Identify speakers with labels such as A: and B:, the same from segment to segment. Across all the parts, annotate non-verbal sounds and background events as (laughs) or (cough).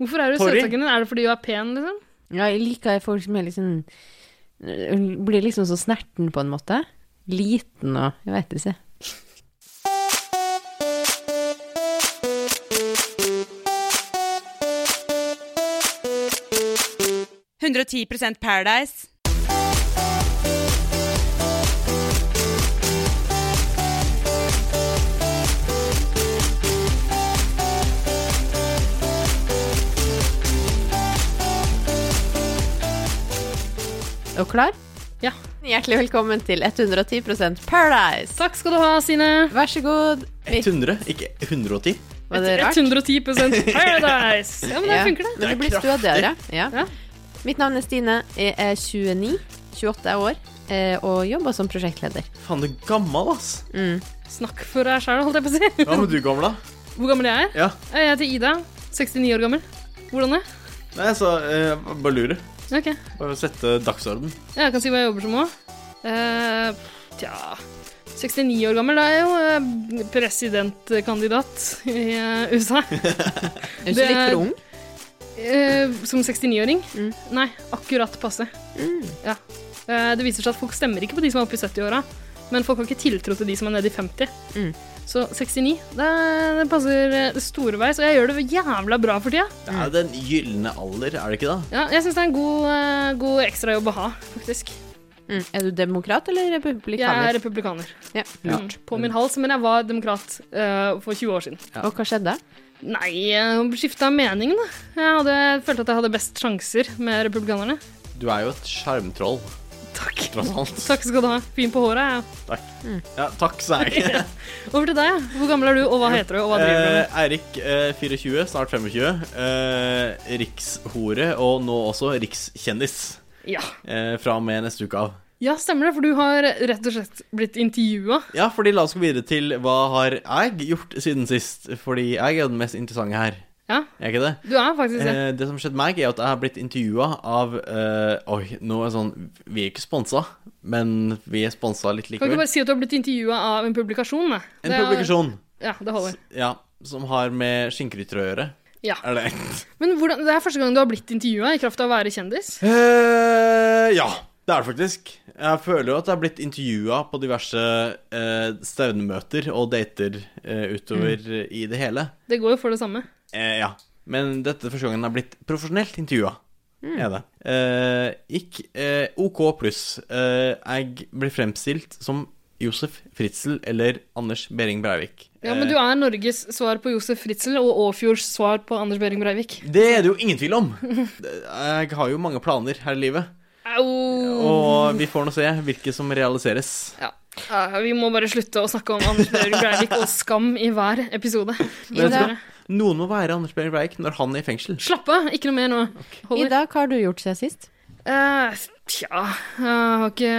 A: Hvorfor er du
B: Sorry.
A: søtsaken din? Er det fordi du er pen, liksom?
C: Ja, jeg liker folk som er liksom Blir liksom så snerten på en måte. Liten og Jeg vet ikke.
D: det. 110 Paradise.
C: Og klar?
A: Ja.
C: Hjertelig velkommen til 110 Paradise.
A: Takk skal du ha, Sine.
C: Vær så god.
B: 100, ikke 110.
C: Var det rart?
A: 110 (laughs) Paradise. Ja, men det
C: Ja,
A: funker, det.
C: Men det
B: er
C: blir
B: kraftig.
C: stødigere. Ja.
A: Ja.
C: Mitt navn er Stine. Jeg er 29, 28 år, eh, og jobber som prosjektleder.
B: Faen, du er gammel, ass.
C: Mm.
A: Snakk for deg sjæl, holdt jeg på å si.
B: Hva med du, gamla?
A: Hvor gammel jeg er?
B: Ja.
A: Jeg heter Ida. 69 år gammel. Hvordan det?
B: Nei, så eh, bare lurer.
A: Ja, Ok.
B: Bare sette dagsorden.
A: Ja, jeg kan si hva jeg jobber som òg. tja 69 år gammel. Da er jeg jo eh, presidentkandidat i eh, USA.
C: Er du
A: Det
C: ikke
A: er-
C: litt for ung?
A: Eh, som 69-åring?
C: Mm.
A: Nei, akkurat passe. Ja. Eh, det viser seg at folk stemmer ikke på de som er oppe i 70-åra, men folk har ikke tiltro til de som er nede i 50.
C: Mm.
A: Så 69, det, det passer eh, storveis, og jeg gjør det jævla bra for tida.
B: Det er jo den gylne alder, er det ikke det?
A: Ja, jeg syns det er en god, eh, god ekstrajobb å ha, faktisk.
C: Mm. Er du demokrat eller
A: Jeg er
C: republikaner?
A: republikaner.
C: Ja.
A: Mm, På min hals, men jeg var demokrat eh, for 20 år siden.
C: Og hva skjedde?
A: Nei, jeg skifta mening, da. Jeg hadde, følte at jeg hadde best sjanser med republikanerne.
B: Du er jo et skjermtroll,
A: Takk.
B: tross alt. (laughs)
A: Takk skal du ha. Fin på håret, jeg.
B: (laughs) Ja, takk, sa jeg.
A: Over til deg. Hvor gammel er du, og hva heter du? Og hva driver du med?
B: Eh, Eirik, eh, 24, snart 25. Eh, rikshore, og nå også rikskjendis.
A: Ja.
B: Eh, fra og med neste uke av.
A: ja, stemmer det, for du har rett og slett blitt intervjua.
B: Ja, fordi la oss gå videre til hva har jeg gjort siden sist? Fordi jeg er jo den mest interessante her.
A: Ja,
B: Er jeg ikke det?
A: du er faktisk det.
B: Eh, det som skjedde meg, er at jeg har blitt intervjua av eh, Oi, nå er det sånn Vi er ikke sponsa, men vi er sponsa litt
A: Kan ikke
B: likevel.
A: bare si at du har blitt intervjua av Eh, en publikasjon, da.
B: En
A: Det er-
B: publikasjon
A: Ja, det holder.
B: ja, som har med skinnkrytter å gjøre.
A: Ja.
B: Er det
A: Men hvordan, det er første gang du har blitt intervjua i kraft av å være kjendis.
B: Eh, Ja, det er det faktisk. Jeg føler jo at jeg har blitt intervjua på diverse eh, stevnemøter og dater eh, utover
A: Mm.
B: eh, i det hele.
A: Det går jo for det samme.
B: Eh, ja. Men dette er første gangen jeg har blitt profesjonelt intervjua.
A: Mm.
B: Er det. Eh, gikk eh, OK pluss. Eh, jeg ble fremstilt som Josef Fritzel eller Anders Behring Breivik.
A: Ja, Men du er Norges svar på Josef Fritzel og Åfjords svar på Anders Behring Breivik.
B: Eh, det er det jo ingen tvil om! (laughs) Jeg har jo mange planer her i livet,
A: Au!
B: og vi får nå se hvilke som realiseres.
A: Ja. Eh, Vi må bare slutte å snakke om Anders Behring Breivik og skam i hver episode.
B: Men
C: Ida,
A: Bare-
B: Noen må være Anders Behring Breivik når han er i fengsel.
A: Slapp av, ikke noe mer nå. Holder.
C: Ida, hva har du gjort siden sist?
A: Eh, tja, jeg har ikke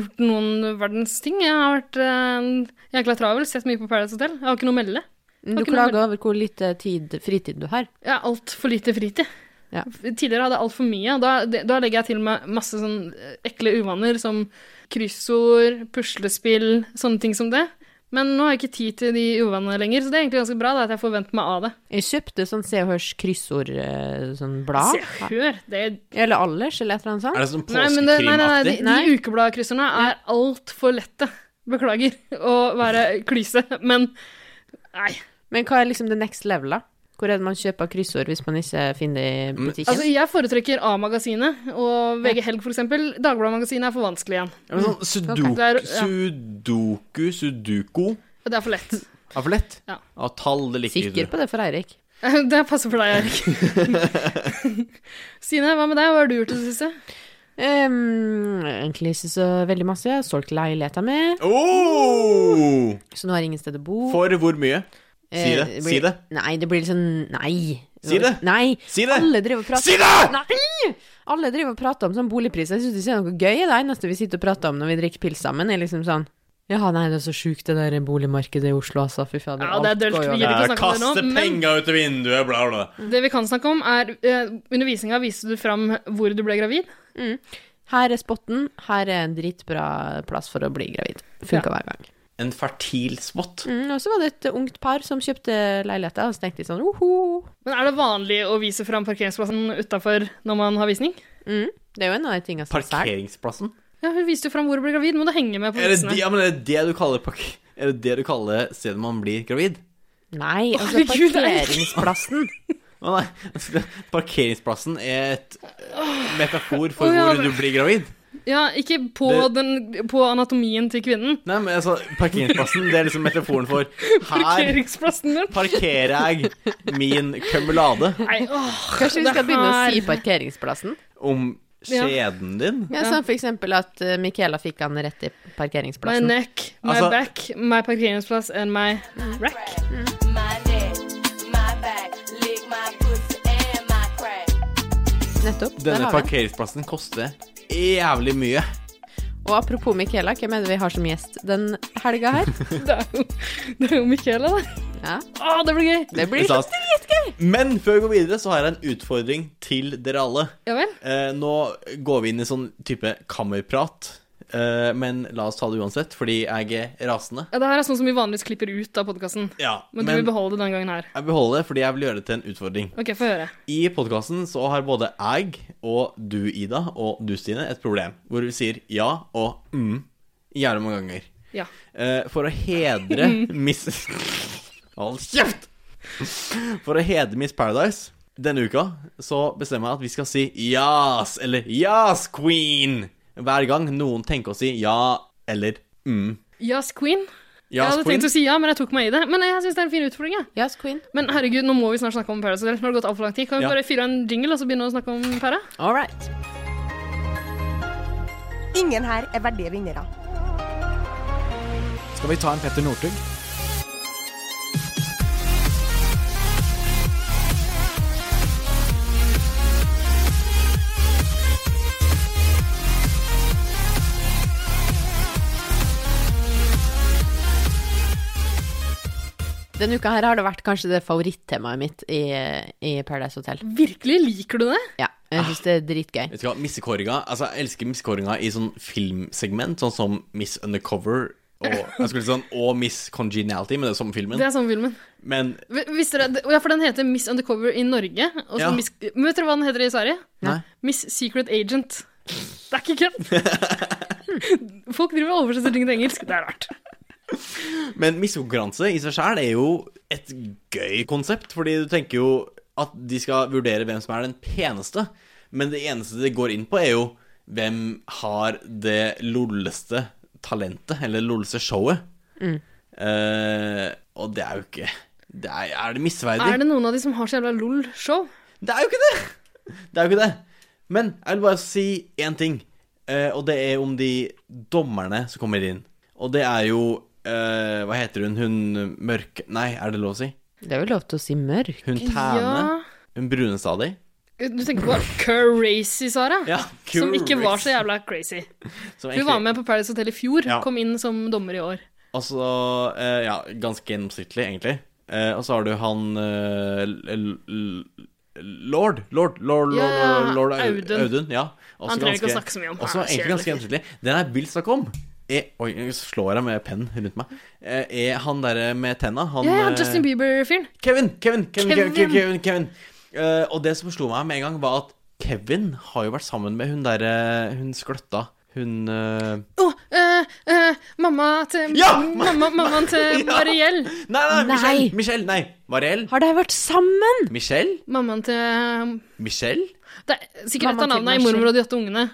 A: gjort noen verdens ting. Jeg har vært eh, jækla travel, sett mye på Paradise Hotel. Jeg har ikke noe å melde.
C: Du
A: Har ikke noe
C: klager over hvor lite tid, fritid du har.
A: Jeg har altfor lite fritid.
C: Ja.
A: Tidligere hadde jeg altfor mye. og Da, det- da legger jeg til meg masse sånn eh, ekle uvaner som kryssord, puslespill, sånne ting som det. Men nå har jeg ikke tid til de uvanene lenger, så det er egentlig ganske bra da, at jeg får vent meg av det.
C: Jeg kjøpte sånn Se og Hørs kryssord, eh, sånn blad.
A: Se, hør, det er
C: Eller Allers, eller et eller annet sånt.
B: Er det sånn
A: Nei, men det, nei, nei, nei, de,
B: påskekrimaktig?
A: de ukebladkrysserne er altfor lette. Beklager å være klyse, men nei.
C: Men hva er liksom the next level, da? Hvor er det man kjøper kryssord hvis man ikke finner det i butikken?
A: Altså, jeg foretrekker A-magasinet og VG Helg, for eksempel. Dagbladet-magasinet er for vanskelig igjen.
B: Ja, men sånn sudoku,
A: Mm. Ok. Det er- ja.
B: sudoku, sudoku
A: Og Det er for lett. (laughs)
B: Er for lett?
A: Ja.
B: Av tall, det liker
C: Sikker
B: ikke du.
C: på det for Eirik.
A: Det passer for deg, Erik. (laughs) Stine, hva med deg? Hva har du gjort i det siste?
C: Ehm, egentlig ikke så veldig masse. Jeg har solgt leiligheta mi,
B: Oh!
C: så nå har jeg ingen sted å bo.
B: For hvor mye? Si
C: Eh, blir-
B: det. Si det.
C: Nei, det blir liksom Nei.
B: Si det.
C: Nei.
B: Si det.
C: Alle driver og prater
B: Si det!
C: Nei! Alle driver og prater om sånn boligpris. Jeg syns det ikke er noe gøy. Det eneste vi sitter og prater om når vi drikker pils sammen, er liksom sånn Ja, nei, det er så sjukt det der boligmarkedet i Oslo, altså. Fy fader.
A: Ja, det er
C: alt
A: dølt.
C: går jo
A: Vi
C: ned.
A: gidder ikke å
B: Ja,
A: snakke om det nå,
B: kaste
A: men-
B: penga ut av vinduet, bla, bla.
A: Det vi kan snakke om, er eh, Undervisninga viste du fram hvor du ble gravid.
C: Her er spotten. Her er en dritbra plass for å bli gravid. Funka hver gang.
B: en fertil spot.
C: Mm, og så var det et ungt par som kjøpte leiligheter, og så tenkte de sånn oho.
A: Men er det vanlig å vise fram parkeringsplassen utafor når man har visning?
C: Mm, det er jo en av de tingene som selger.
B: Parkeringsplassen?
A: Ja, hun viste jo fram hvor hun ble gravid, må du henge med på
B: Er det, de,
A: visene.
B: ja, men er det det du kaller park... Er det det du kaller stedet man blir gravid?
C: Nei, altså
A: Herregud, Eirik. (laughs)
C: parkeringsplassen.
B: Å nei, (laughs) parkeringsplassen er et metafor for
A: Å, ja,
B: hvor
A: men-
B: du blir gravid.
A: Ja, ikke på,
B: Det-
A: den, på anatomien til kvinnen.
B: Nei, men altså, parkeringsplassen, det er liksom metaforen for her
A: Parkeringsplassen din.
B: parkerer jeg min kumulade
A: Nei, åh,
C: Kanskje vi
A: det
C: skal begynne å
A: her-
C: si parkeringsplassen?
B: om skjeden din.
C: Ja, Sånn for eksempel at eh, Michaela fikk han rett i
A: My
C: parkeringsplassen.
A: neck, my
B: Altså-
A: back, my parkeringsplass and my rack. (laughs)
E: My neck, my back, lick my pussy and my crack.
C: Nettopp. Der
B: Denne
C: har vi den.
B: parkeringsplassen koster jævlig mye.
C: Og apropos Michaela, hvem er det vi har som gjest den helga her?
A: Det er jo, det er jo Michaela, da.
C: Ja,
A: Å, det blir gøy!
C: det blir
B: Ikke sant? Men før vi går videre, så har jeg en utfordring til dere alle.
A: Ja vel?
B: Eh, nå går vi inn i sånn type kammerprat, eh, men la oss ta det uansett, fordi jeg er rasende.
A: Ja, det her er sånn som vi vanligvis klipper ut av podkasten.
B: Ja,
A: Men du vil beholde det denne gangen her.
B: jeg beholder det fordi jeg vil gjøre det til en utfordring.
A: OK, få høre.
B: I podkasten så har både jeg og du, Ida, og du, Stine, et problem. Hvor vi sier ja og mm jævlig mange ganger.
A: Ja.
B: Eh, for å hedre
C: (laughs)
B: Miss (laughs) Hold kjeft! For å hedre Miss Paradise denne uka så bestemmer jeg at vi skal si yes eller yes, queen hver gang noen tenker å si ja eller mm.
A: Yes, queen. jeg
B: Yes,
A: hadde
B: queen.
A: tenkt å si ja, men jeg tok meg i det. Men jeg syns det er en fin utfordring. Ja.
C: Yes, queen.
A: Men herregud, nå må vi snart snakke om Paradise Hotel. Nå har det gått alt for lang tid. Kan vi
B: Ja.
A: bare fyre av en jingle og så begynne å snakke om Para?
C: All right.
F: Ingen her er verdige vinnere.
G: Skal vi ta en Petter Northug?
C: Denne uka her har det vært kanskje det favorittemaet mitt i, i Paradise Hotel.
A: Virkelig liker du det?
C: Ja, jeg syns det er dritgøy.
B: Vet du hva, missekåringa Altså, jeg elsker missekåringa i sånn filmsegment, sånn som Miss Undercover og, jeg skulle si sånn, og Miss Congeniality, men det er som filmen.
A: Det er samme filmen.
B: Men
A: V- Visste dere, ja, for den heter Miss Undercover i Norge. Og så
B: Ja.
A: Miss, men vet dere hva den heter i Sverige?
B: Nei.
A: Miss Secret Agent. Det er ikke
B: (laughs)
A: kødd! Folk driver og oversetter ting til engelsk. Det er rart.
B: Men miskonkurranse i seg sjæl er jo et gøy konsept, fordi du tenker jo at de skal vurdere hvem som er den peneste, men det eneste det går inn på, er jo hvem har det lolleste talentet, eller det lolleste showet. Eh, og det er jo ikke det er, er det misverdig?
A: Er det noen av de som har så jævla LOL-show?
B: Det er jo ikke det! Det er jo ikke det. Men jeg vil bare si én ting, eh, og det er om de dommerne som kommer inn. Og det er jo eh, Hva heter hun? Hun mørke Nei, er det lov å si?
C: Det er jo lov til å si mørk.
B: Hun tæne.
A: Ja.
B: Hun brune stadig.
A: Du tenker på Crazy, Sara.
B: Ja,
A: Som ikke var så
B: Crazy.
A: jævla crazy.
B: Som
A: Hun
B: egentlig,
A: var med på Paradise Hotel i fjor.
B: Ja.
A: Kom inn som dommer i år.
B: Altså eh, Ja, ganske gjennomsnittlig, egentlig. Eh, og så har du han eh, l- l- Lord Lord Lord, Lord,
A: Ja,
B: Lord Au-
A: Audun.
B: Audun. Ja. Også
A: Han trenger ikke å
B: ganske-
A: snakke så mye om.
B: Også
A: Ja,
B: egentlig ganske
A: kjedelig.
B: gjennomsnittlig. Den jeg vil snakke om er, Oi, nå slår jeg med pennen rundt meg. Eh, Er han derre med tenna han,
A: Ja, ja,
B: eh,
A: Justin Bieber-fyren.
B: Kevin, Kevin, Kevin, Kevin, Kevin,
A: Kevin.
B: Kevin, Eh, Og det som slo meg med en gang, var at Kevin har jo vært sammen med hun derre Hun skløtta. Hun eh,
A: Å, eh, eh, mamma til
B: Ja!
A: mamma, Mammaen til
B: (laughs) Ja!
A: Mariell.
B: Nei, nei,
C: Nei.
B: Michelle! Michelle, nei. Mariell?
C: Har de vært sammen?
B: Michelle?
A: Mammaen til
B: Michelle?
A: Det er sikkert et av
C: Mamma til
A: navnene i
C: Marcel.
A: 'Mormor og de åtte ungene'.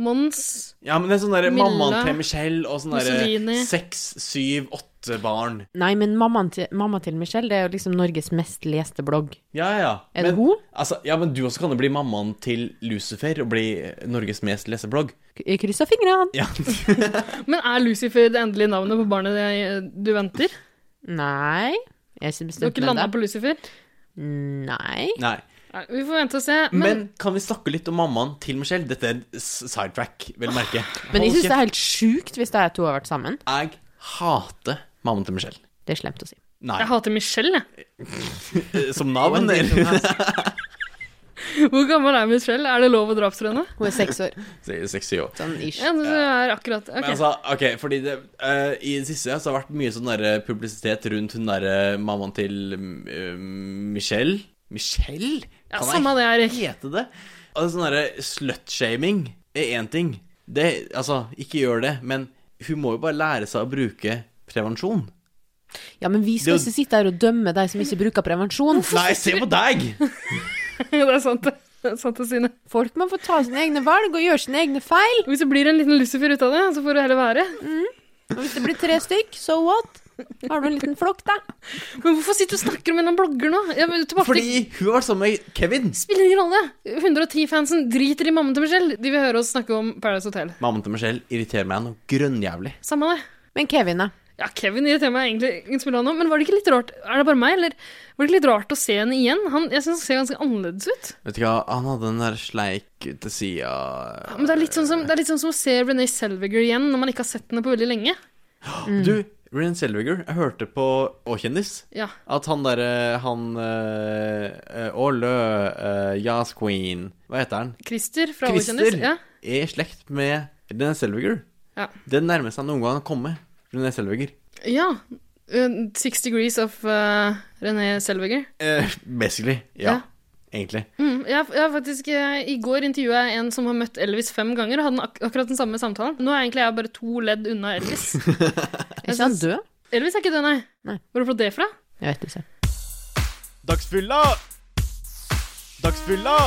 A: Mons.
B: Ja, men det er sånn derre
A: Milla.
B: mammaen til Michelle og sånn derre
A: Mussolini.
B: seks, syv, åtte barn.
C: Nei, men mammaen til, mamma til Michelle, det er jo liksom Norges mest leste blogg.
B: Ja, ja.
C: Er det hun?
B: Altså, ja, men du også kan jo bli mammaen til Lucifer og bli eh, Norges mest leseblogg.
C: Jeg krysser fingrene.
B: Ja. (laughs)
A: Men er Lucifer det endelige navnet på barnet det- du venter?
C: Nei. Jeg er ikke
A: Du har
C: bestemt
A: ikke landa
C: ennå.
A: på Lucifer?
C: Nei.
B: Nei.
A: Nei, Vi får vente og se.
B: Men,
A: Men,
B: kan vi snakke litt om mammaen til Michelle? Dette er s- sidetrack, vel merke.
C: Men jeg syns
B: Hold
C: det
B: kjeft.
C: er helt sjukt hvis de to har vært sammen.
B: Jeg hater mammaen til Michelle.
C: Det er slemt å si.
B: Nei.
A: jeg hater Michelle, jeg.
B: (laughs) Som navn, eller?
A: Hvor gammel er Michelle? Er det lov å drapstrue henne?
C: Hun er seks år.
B: Se- Sexy òg.
C: Sånn ish.
A: Ja, det er akkurat ok.
B: Men altså, ok, fordi det, eh, I det siste så har det vært mye sånn der publisitet rundt hun derre mammaen til eh, Michelle. Michelle?
A: Ja,
B: Kan jeg
A: samme det, Erik.
B: Hete det? Altså, sånn derre slutshaming er én ting. Det, altså, ikke gjør det, men hun må jo bare lære seg å bruke prevensjon.
C: Ja, men vi skal
B: Det-
C: ikke sitte her og dømme deg som ikke bruker prevensjon.
B: Nei, se på deg!
A: (laughs) det er sant, det. Det er sant det, Sine.
C: Folk må få ta sine egne valg og gjøre sine egne feil.
A: Hvis det blir en liten Lucifer ut av det, så får det heller være.
C: Og hvis det blir tre stykk, so what? Har du en liten flokk, da?
A: Men hvorfor sitter du og snakker om en eller annen blogger nå? Ja, men tilbake
B: Fordi
A: til
B: hun har vært sammen med Kevin.
A: Spiller ingen rolle! 110-fansen driter i mammaen til Michelle. De vil høre oss snakke om Paradise Hotel.
B: Mammaen til Michelle irriterer meg noe grønnjævlig.
A: Samme det.
C: Men Kevin, da?
A: Ja, Kevin irriterer meg egentlig ikke så mye nå, men var det ikke litt rart Er det bare meg, eller var det ikke litt rart å se henne igjen? Han, jeg syns han ser ganske annerledes ut.
B: Vet du hva, han hadde den der sleik til sida
A: Men det er litt sånn som, det er litt sånn som å se Renee Selviger igjen når man ikke har sett henne på veldig lenge.
B: Du, Ren Selviger, jeg hørte på Å-kjendis.
A: Ja.
B: At han derre Han øh, Ålø eh, Jazz Queen Hva heter han?
A: Christer fra
B: Christer
A: Åkjendis. Ja.
B: er i slekt med René Selviger.
A: Ja.
B: Det nærmeste han noen gang har kommet. René Selviger.
A: ja. Uh, Six Degrees of uh, Renee Selviger.
B: Eh, basically. Ja.
A: Ja.
B: Egentlig.
A: Mm, jeg, jeg har faktisk, eh, I går intervjua jeg en som har møtt Elvis fem ganger, og hadde den ak akkurat den samme samtalen. Nå er egentlig jeg bare to ledd unna
B: (laughs)
A: Elvis.
C: Er ikke han død?
A: Elvis er ikke død, nei.
C: Nei.
A: Hvor har du fått det fra?
C: Jeg vet ikke.
B: Dagsfylla! Dagsfylla!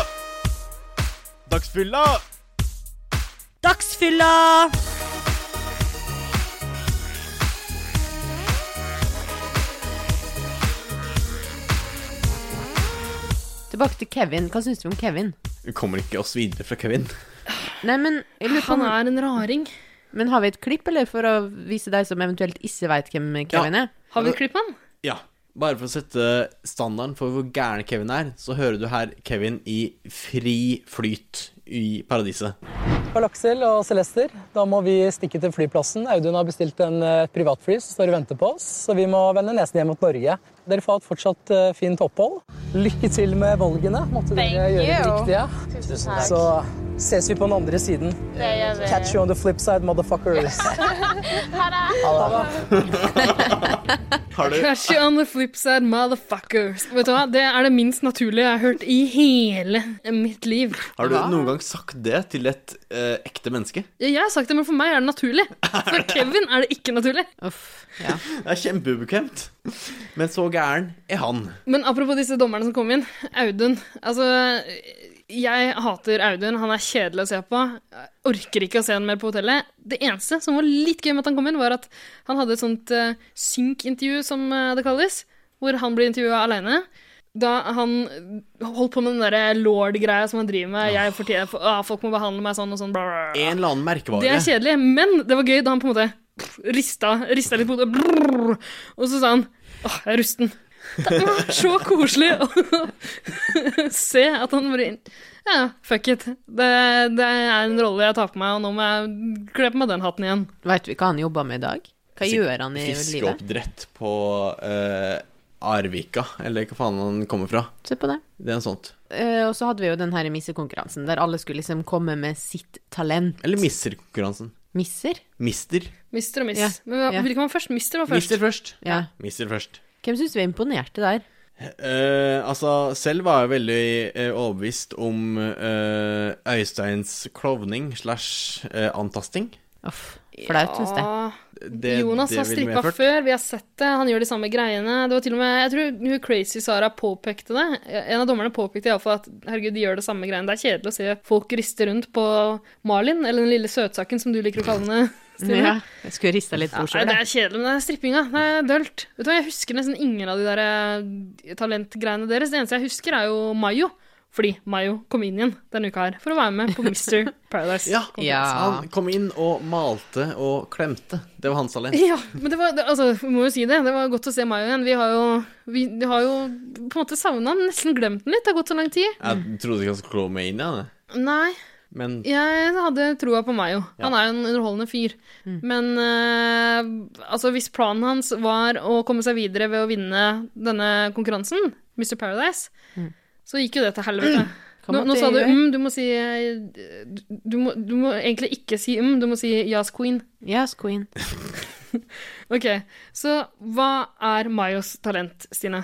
B: Dagsfylla!
D: Dagsfylla!
C: Tilbake til Kevin. Hva syns vi om Kevin?
B: Vi kommer ikke oss videre fra Kevin.
C: Nei, men, jeg lurer på
A: Han
C: om-
A: er en raring.
C: men har vi et klipp, eller? For å vise deg som eventuelt ikke veit hvem Kevin er?
A: Har vi et klipp av han?
B: Ja. Bare for å sette standarden for hvor gæren Kevin er, så hører du her Kevin i fri flyt i paradiset.
G: Karl Aksel og Celester, da må vi stikke til flyplassen. Audun har bestilt en eh, privatfly som står og venter på oss, så vi må vende nesen hjem mot Norge. Dere får ha et fortsatt eh, fint opphold. Lykke til med valgene. Måtte dere gjøre det riktige. Så ses vi på den andre siden. Catch you on the flip side, motherfuckers.
B: Har
A: (laughs)
B: du
A: Crash you on the flip side, motherfuckers. Vet du hva, Det er det minst naturlige jeg har hørt i hele mitt liv.
B: Har du noen gang sagt det til et eh, ekte menneske?
A: Ja, Jeg har sagt det, men for meg er det naturlig. For Kevin er det ikke naturlig.
C: Uff. Ja.
B: Det er kjempeubekvemt. Men så gæren er han.
A: Men apropos disse dommerne som kom inn. Audun. Altså, jeg hater Audun. Han er kjedelig å se på. Jeg Orker ikke å se han mer på hotellet. Det eneste som var litt gøy med at han kom inn, var at han hadde et sånt eh, synk-intervju, som eh, det kalles, hvor han blir intervjua aleine. Da han holdt på med den der lord-greia som han driver med jeg fortjener, ah, Folk må behandle meg sånn og sånn. Bla, bla, bla.
B: En eller annen merkevare.
A: Det er kjedelig, men det var gøy da han på en måte pff, rista, rista litt på hodet. brrr, Og så sa han åh, jeg er rusten. Det var så koselig å (laughs) se at han bare Ja, fuck it. Det, det er en rolle jeg tar på meg, og nå må jeg kle på meg den hatten igjen.
C: Veit vi hva han jobber med i dag? Hva gjør han i livet?
B: Fiskeoppdrett på eh, Arvika, eller hva faen han kommer fra.
C: Se på det.
B: Det er noe sånt.
C: Eh, og så hadde vi jo den her missekonkurransen, der alle skulle liksom komme med sitt talent.
B: Eller Misser-konkurransen.
C: Misser?
B: Mister.
A: Mister og miss.
C: Ja,
A: Men hva-
C: ja.
A: hvilken var først? Mister var først.
B: Mister først.
C: Ja.
B: Mister først.
C: Hvem syns vi imponerte der?
B: Eh, altså, selv var jeg veldig eh, overbevist om eh, Øysteins klovning slash eh, antasting.
C: Uff. Flaut, syns jeg.
A: Ja,
B: Det-
A: Jonas
B: det
A: har
B: ville
A: strippa
B: medført.
A: før, vi har sett det. Han gjør de samme greiene. Det var til og med, Jeg tror hun Crazy Sara påpekte det. En av dommerne påpekte iallfall at herregud, de gjør det samme greiene. Det er kjedelig å se folk riste rundt på Marlin, eller den lille søtsaken som du liker å kalle henne. Stine.
C: Ja, jeg skulle rista litt på
A: Nei,
C: sjøl.
A: det er kjedelig, men det er strippinga. Det er dølt. Vet du hva, Jeg husker nesten ingen av de der eh, talentgreiene deres. Det eneste jeg husker, er jo Mayo. Fordi Mayo kom inn igjen denne uka her for å være med på Mr. Paradise.
B: Ja,
C: Ja.
B: Han kom inn og malte og klemte. Det var hans talent.
A: Ja, men det var det, Altså, vi må jo si det. Det var godt å se Mayo igjen. Vi har jo, vi, vi har jo på en måte savna den, nesten glemt den litt. Det har gått så lang tid.
B: Jeg trodde ikke han skulle komme inn igjen, jeg.
A: Nei,
B: men
A: jeg hadde troa på Mayo.
B: Ja.
A: Han er jo en underholdende fyr. Men eh, altså, hvis planen hans var å komme seg videre ved å vinne denne konkurransen, Mr. Paradise, så gikk jo det til helvete.
C: Hva
A: Nå,
C: måtte
A: nå sa
C: jeg
A: du
C: gjøre?
A: mm, du må si eh, du, du, må, du må egentlig ikke si mm, du må si yes, queen.
C: Yes, queen.
A: Ok, så hva er Mayos talent, Stine?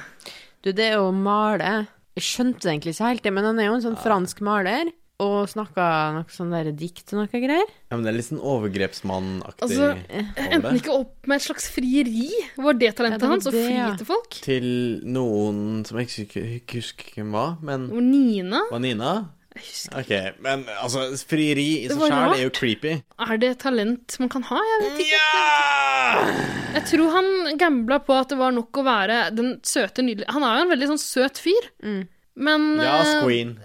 C: Du, det er jo å male Jeg skjønte det egentlig ikke helt, det, men han er jo en sånn fransk maler. Og snakka noe sånn der dikt og noe greier.
B: Ja, men det er litt sånn overgrepsmannaktig
A: Altså,
B: over
A: Endte han
B: det.
A: ikke opp med et slags frieri? Var det talentet
C: Ja, det var
A: hans? Å
C: det,
A: fri
C: ja.
A: til folk?
B: Til noen som jeg ikke husker- ikke husker hvem var, men
A: Og Nina?
B: var Nina?
A: Jeg husker.
B: Ok, men altså, frieri i
A: Det
B: seg
A: var
B: sjæl
A: rart.
B: er jo creepy.
A: Er det et talent man kan ha? Jeg, vet ikke.
B: Ja!
A: jeg tror han gambla på at det var nok å være den søte, nydelige Han er jo en veldig sånn søt fyr.
C: Mm.
A: Men
B: Yes,
A: eh,
B: queen.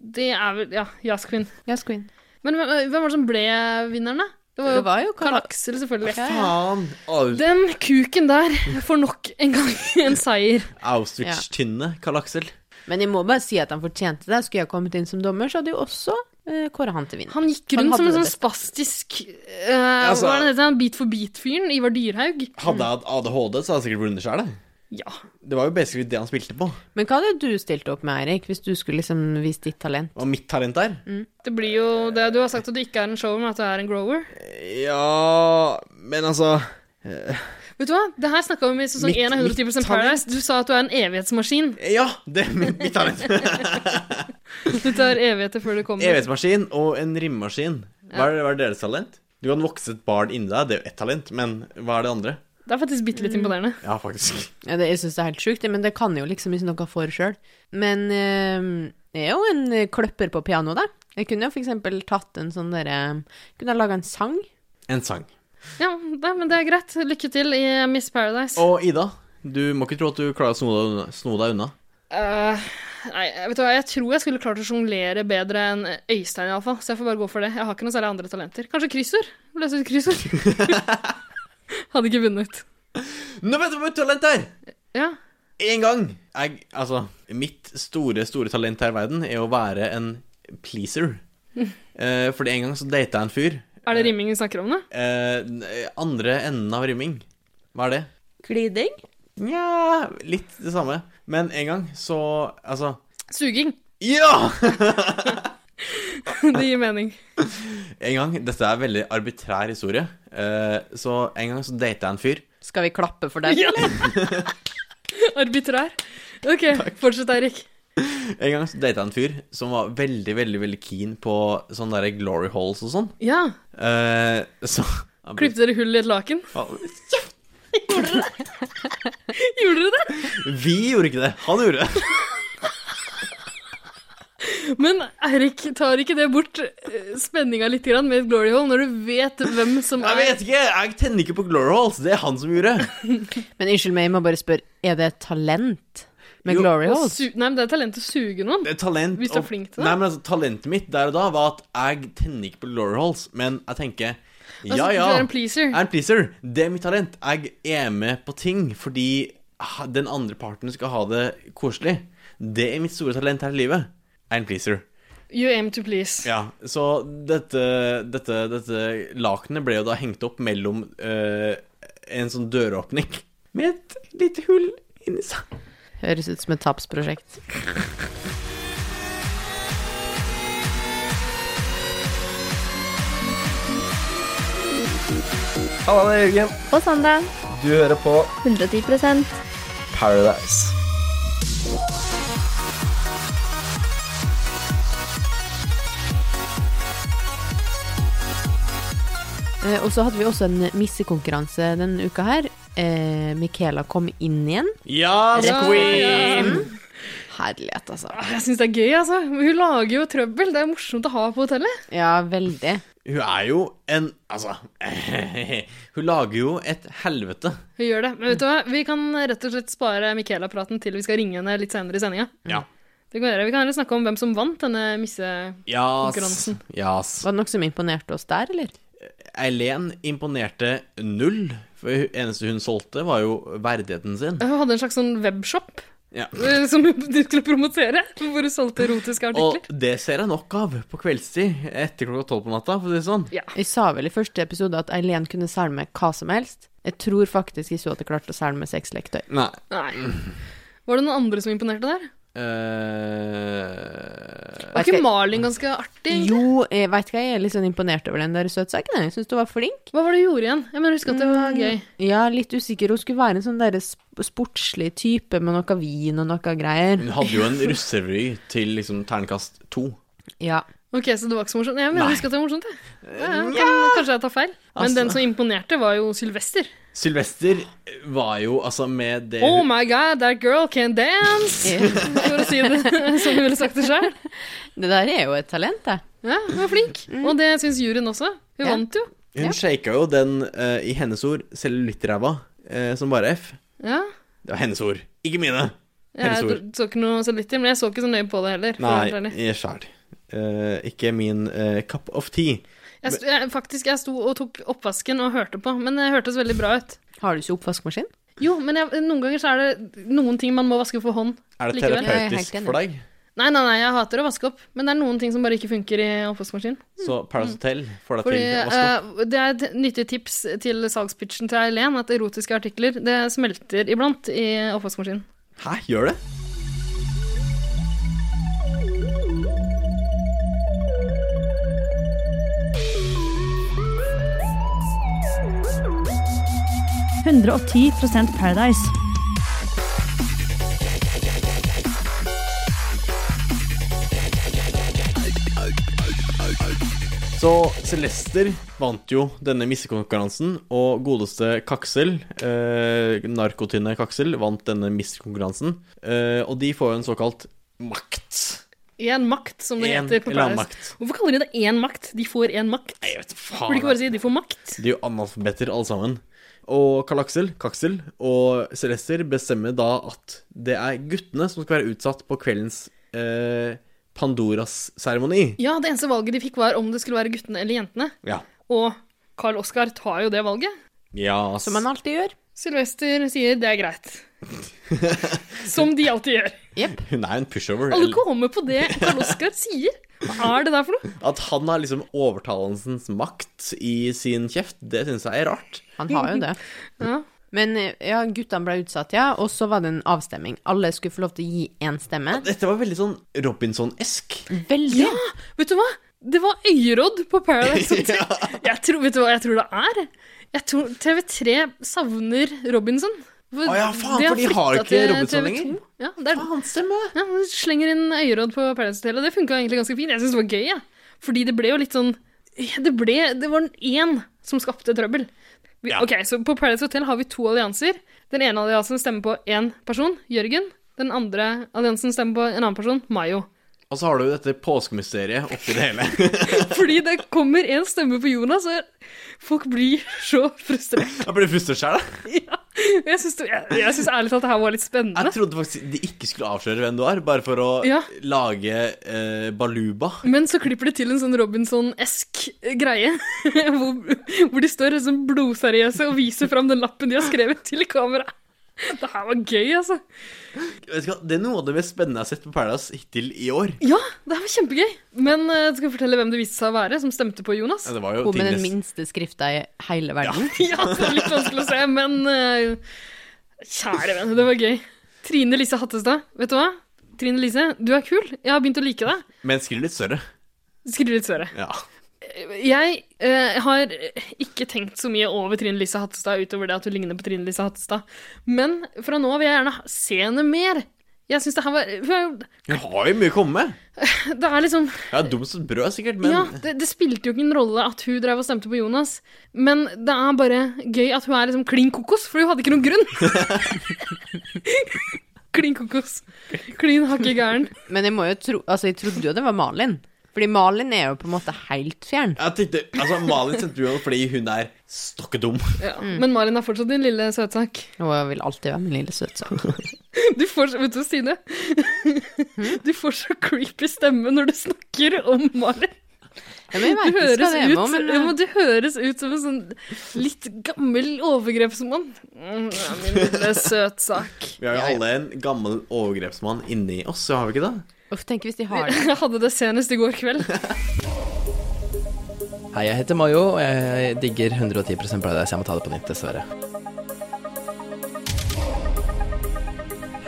A: det er vel Ja, yes, queen.
C: Yes, queen.
A: Men hvem eh, hvem var det som ble vinneren, da? Det var jo,
C: Det var jo Karl-
A: Karl Aksel, selvfølgelig.
B: Faen! Au-
A: Den kuken der får nok en gang (laughs) en seier.
B: Auschwitz-tynne, Karl Aksel.
C: Men jeg må bare si at han fortjente det. Skulle jeg kommet inn som dommer, så hadde jeg også eh, kåra han til vinner.
A: Han gikk
C: Han
A: rundt som en
C: hadde
A: sånn
C: det best.
A: spastisk eh,
B: Altså-
A: Hva er det det heter? Beat for beat-fyren? Ivar Dyrhaug?
B: Hadde jeg hatt ADHD, så hadde jeg sikkert vunnet sjæl.
A: Ja.
B: Det var jo basically det han spilte på. Det
C: Men hva hadde du stilt opp med, Eirik, hvis du skulle liksom vist ditt talent?
B: var mitt talent der.
A: Det blir jo det Du har sagt at du ikke er en shower, men at du er en grower.
B: Ja Men altså
A: Vet du hva? Det her snakka vi om i sesong
B: Mitt-
A: 1 av 110
B: mitt
A: Paradise. Du sa at du er en evighetsmaskin.
B: Ja! Det er mitt, mitt talent.
A: Du tar evigheter før du kommer.
B: Evighetsmaskin og en rimmaskin. Hva er, hva er deres talent? Du kan vokse et barn inni deg, det er jo ett talent, men hva er det andre?
A: Det er faktisk bitte
B: Mm.
A: litt imponerende.
B: Ja, faktisk.
C: Ja, det, jeg syns det er helt sjukt, det, men det kan jeg jo liksom ikke noe for sjøl. Men eh, jeg er jo en eh, kløpper på piano, da. Jeg kunne jo for eksempel tatt en sånn derre Kunne ha laga en sang.
B: En sang.
A: Ja, nei, men det er greit. Lykke til i Miss Paradise.
B: Og Ida, du må ikke tro at du klarer å sno deg unna. Sno deg unna.
A: Eh, nei, vet du hva, jeg tror jeg skulle klart å sjonglere bedre enn Øystein, iallfall. Så jeg får bare gå for det. Jeg har ikke noe særlig andre talenter. Kanskje kryssord? Løse ut
B: (laughs)
A: kryssord. Hadde ikke vunnet.
B: Nå vet du hva mitt talent er!
A: Ja.
B: Én gang! Jeg, altså, mitt store, store talent her i verden er å være en pleaser. Eh, fordi en gang så data jeg en fyr.
A: Er det rimming vi snakker om nå?
B: Eh, n- andre enden av rimming. Hva er det?
C: Gliding.
B: Nja Litt det samme. Men en gang så Altså
A: Suging. (laughs)
B: Ja! (laughs)
A: Det gir mening.
B: En gang Dette er en veldig arbitrær historie. Eh, så en gang så data jeg en fyr.
C: Skal vi klappe for den?
A: Ja. Arbitrær. OK, fortsett, Eirik.
B: En gang så data jeg en fyr som var veldig, veldig veldig keen på sånne der glory holes og sånn.
A: Ja.
B: Eh, så
A: Klippet dere hull i et laken? (laughs) Gjorde dere det?
B: Vi gjorde ikke det. Han gjorde det.
A: Men Eirik, tar ikke det bort eh, spenninga litt grann med et glory hole, når du vet hvem som
B: Jeg
A: er
B: vet ikke, jeg tenner ikke på glory holes. Det er han som gjorde.
C: Men unnskyld meg, jeg må bare spørre, er det et talent med
B: Jo,
C: glory
A: Å
C: holes?
A: su Nei, men det er talent å suge noen.
B: Det er talent
A: Hvis du er
B: og-
A: flink til det.
B: Nei, men altså, Talentet mitt der og da var at jeg tenner ikke på glory holes, men jeg tenker ja,
A: Altså,
B: ja.
A: Du er en pleaser.
B: Jeg er en pleaser. Det er mitt talent. Jeg er med på ting fordi ha- den andre parten skal ha det koselig. Det er mitt store talent her i livet. Jeg er en pleaser.
A: You aim to please.
B: Ja, Så dette, dette, dette lakenet ble jo da hengt opp mellom eh, en sånn døråpning med et lite hull inni seg.
C: Høres ut som et tapsprosjekt.
H: Halla, det er Jørgen.
I: Og Sandra,
H: Du hører på
I: 110
H: Paradise.
C: Eh, og så hadde vi også en missekonkurranse denne uka her. Eh, Michaela kom inn igjen.
B: Ja, queen!
C: Herlighet, altså.
A: Jeg syns det er gøy, altså. Hun lager jo trøbbel. Det er morsomt å ha på hotellet.
C: Ja, veldig.
B: Hun er jo en Altså (laughs) Hun lager jo et helvete.
A: Hun gjør det. Men vet du hva, vi kan rett og slett spare Michaela-praten til vi skal ringe henne litt senere i sendinga.
B: Ja.
A: Det kan vi gjøre. Vi kan heller snakke om hvem som vant denne misse...
B: Jas.
A: Konkurransen.
B: Jas.
C: Var det noe som imponerte oss der, eller?
B: Eileen imponerte null, for det eneste hun solgte, var jo verdigheten sin.
A: Hun hadde en slags sånn webshop
B: Ja.
A: eh, som (laughs) hun skulle promotere, hvor hun solgte erotiske
B: Og
A: artikler.
B: det ser jeg nok av på kveldstid etter klokka tolv på natta, for å si det sånn.
C: Jeg sa vel i første episode at Eileen kunne selge meg hva som helst. Jeg tror faktisk ikke at jeg klarte å selge meg sexleketøy.
B: Nei.
A: Nei. Var det noen andre som imponerte der?
B: eh,
A: Var ikke Marlin ganske artig? egentlig?
C: Jo, jeg vet ikke, jeg er litt sånn imponert over den der søtsaken. Jeg syns du var flink. Mm.
A: Hva var det du gjorde igjen? Jeg mener, husker at det
B: Mm.
A: var gøy.
C: Ja, litt usikker. Hun skulle være en sånn derre sp- sportslig type med noe vin og noe greier.
B: Hun hadde jo en russevry til liksom ternekast to.
C: Ja.
A: Ok, så det var ikke så morsomt? Jeg mener,
B: Nei. Mm, Altså.
A: husker at det var morsomt, jeg. Ja, ja, kan, kanskje jeg tar feil. Men den som imponerte, var jo Sylvester.
B: Sylvester var jo altså med det
A: Oh my god, that girl can dance!
B: Eh.
A: (laughs) For å si det som hun ville sagt det sjøl.
C: Det der er jo et talent, det.
A: Ja, hun var flink.
B: Mm.
A: Og det syns juryen også. Hun
C: Ja.
A: vant jo.
B: Hun shaka jo den, eh, i hennes ord, cellulittræva eh, som bare F.
A: Ja.
B: Det var hennes ord, ikke mine. Hennes
A: Jeg
B: ord.
A: så ikke noe cellulitter, men jeg så ikke så nøye på det heller. For å være helt
B: Nei,
A: ærlig.
B: jeg sjæl. Eh, ikke min eh, cup of tea.
A: Jeg, sto- jeg, faktisk, jeg sto og tok oppvasken og hørte på, men det hørtes veldig bra ut.
C: Har du ikke oppvaskmaskin?
A: Jo, men jeg, noen ganger så er det noen ting man må vaske for hånd.
B: Er det
A: Likevel.
C: Jeg er helt
B: terapeutisk
C: enig.
B: for deg?
A: Nei, nei, nei, jeg hater å vaske opp, men det er noen ting som bare ikke funker i oppvaskmaskinen.
B: Så Paradise Hotel får deg
A: Fordi,
B: til å vaske opp.
A: eh, det er et nyttig tips til salgspitchen til Eileen at erotiske artikler det smelter iblant i oppvaskmaskinen.
B: Hæ, gjør det? Så Celester vant jo denne missekonkurransen, og godeste Kaksel, eh, narkotynne Kaksel, vant denne missekonkurransen. Eh, og de får jo en såkalt makt.
A: Én makt, som det
B: En
A: heter på
B: eller annen
A: Paradise.
B: makt.
A: Hvorfor kaller de det én makt? De får én makt.
B: Nei, jeg vet
A: Burde de
B: faen.
A: ikke bare si de får makt?
B: De er jo analfabeter alle sammen. Og Karl Aksel, Kaksel og Celester bestemmer da at det er guttene som skal være utsatt på kveldens eh, Pandoras-seremoni.
A: Ja, det eneste valget de fikk, var om det skulle være guttene eller jentene.
B: Ja.
A: Og Carl Oskar tar jo det valget.
B: ja ass.
C: Som man alltid gjør.
A: Sylvester sier det er greit. (laughs) Som de alltid gjør.
B: Hun er jo en pushover.
A: Alle
B: eller-
A: kommer på det Carl Oskar sier. Hva er det der for noe?
B: At han har liksom overtalelsens makt i sin kjeft, det syns jeg er rart.
C: Han har jo det.
A: Ja.
C: (laughs) Men eh, ja, guttene ble utsatt, ja. Og så var det en avstemning. Alle skulle få lov til å gi én stemme.
B: Dette var veldig sånn Robinson-esk.
C: Veldig.
A: (laughs) Ja, vet du hva? Det var øyeråd på Paradise Hotel. Jeg tror, vet du hva jeg tror det er? Jeg tror TV3 savner Robinson. For,
B: Å ja, faen, for de
A: flyttet
B: har jo ikke
A: til
B: Robinson
A: TV2.
B: lenger.
A: Ja, det er,
B: Faen, stemmer det.
A: ja, de slenger inn øyeråd på Paradise Hotel, og det funka egentlig ganske fint. Jeg syns det var gøy, jeg. Fordi det ble jo litt sånn Det, ble, det var én som skapte trøbbel. Vi, Ok, så På Paradise Hotel har vi to allianser. Den ene alliansen stemmer på én person, Jørgen. Den andre alliansen stemmer på en annen person, Mayo.
B: Og så har du jo dette påskemysteriet oppi
A: (laughs)
B: det hele.
A: Fordi det kommer en stemme på Jonas, og folk blir så frustrert.
B: Jeg ble frustrert sjøl, jeg.
A: Ja. Jeg syns jeg, jeg synes ærlig talt det her var litt
B: Jeg
A: spennende.
B: trodde faktisk de ikke skulle avsløre hvem du er, bare for å
A: Ja.
B: lage eh, baluba.
A: Men så klipper de til en sånn Robinson-esk greie, (laughs) hvor, hvor de står sånn blodseriøse og viser fram den lappen de har skrevet til kamera. Det her var gøy, altså.
B: Vet du hva, Det er noe av det mest spennende jeg har sett på Paradise hittil i år.
A: Ja, det her var kjempegøy. Men eh, skal jeg fortelle hvem det viste seg å være, som stemte på Jonas?
B: Ja, det var jo
C: Hun med den
B: tidenes-
C: minste skrifta i hele verden.
A: (laughs) Ja, det var litt vanskelig å se, men eh, kjære venn, det var gøy. Trine Lise Hattestad, vet du hva? Trine Lise, du er kul. Jeg har begynt å like deg.
B: Men skriv litt større.
A: Skriv litt søre.
B: Ja.
A: Jeg eh, har ikke tenkt så mye over Trine Lise Hattestad utover det at hun ligner på Trine Lise Hattestad, men fra nå av vil jeg gjerne ha- se henne mer. Jeg synes det her var hun er jo-
B: Hun har jo mye å komme med.
A: Det er liksom
B: Ja, dumt som et brød, sikkert, men
A: Ja, det, det spilte jo ikke en rolle at hun drev og stemte på Jonas, men det er bare gøy at hun er liksom klin kokos, for hun hadde ikke noen grunn. klin kokos. Klin hakke gæren.
C: Men jeg, må jo tro, altså, jeg trodde jo det var Malin. Fordi Malin er jo på en måte helt fjern.
B: Jeg tenkte, altså Malin sendte du henne fordi hun er stokkedum.
A: Ja. Men Malin er fortsatt din lille søtsak.
C: Og jeg vil alltid være min lille
A: (laughs)
C: søtsak.
A: Du får så, vet du, Stine, du får så creepy stemme når du snakker om Malin.
C: Ja, men jeg
A: Du
C: vet ikke hva
A: høres,
C: det er
A: ut,
C: med henne, men
A: ja, men eh, du høres ut som en sånn litt gammel overgrepsmann. Mm, ja, min lille søtsak.
B: Vi har jo alle en gammel overgrepsmann inni oss, har vi ikke det?
C: eh, Uff, tenk hvis de har det.
A: (laughs) Jeg hadde det senest i går kveld.
I: Hei, jeg heter Mayo, og jeg digger 110 Paradise. Jeg må ta det på nytt, dessverre.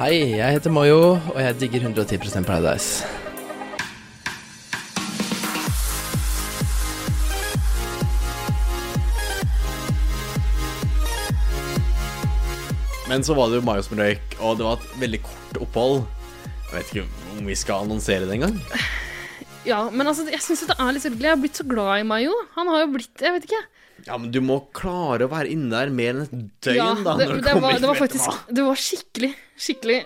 I: Hei, jeg heter Mayo, og jeg digger 110 Paradise.
B: Men så var det jo Mayo som røyk, og det var et veldig kort opphold. Jeg vet ikke om vi skal annonsere det engang.
A: Ja, men altså, jeg syns det er litt sørgelig. Jeg har blitt så glad i Mayo. Han har jo blitt Jeg vet ikke.
B: Ja, men du må klare å være inne der mer enn et døgn,
A: Ja,
B: da.
A: det,
B: når du
A: det,
B: kommer
A: var,
B: hit,
A: det var
B: vet du
A: faktisk
B: hva.
A: Det var skikkelig, skikkelig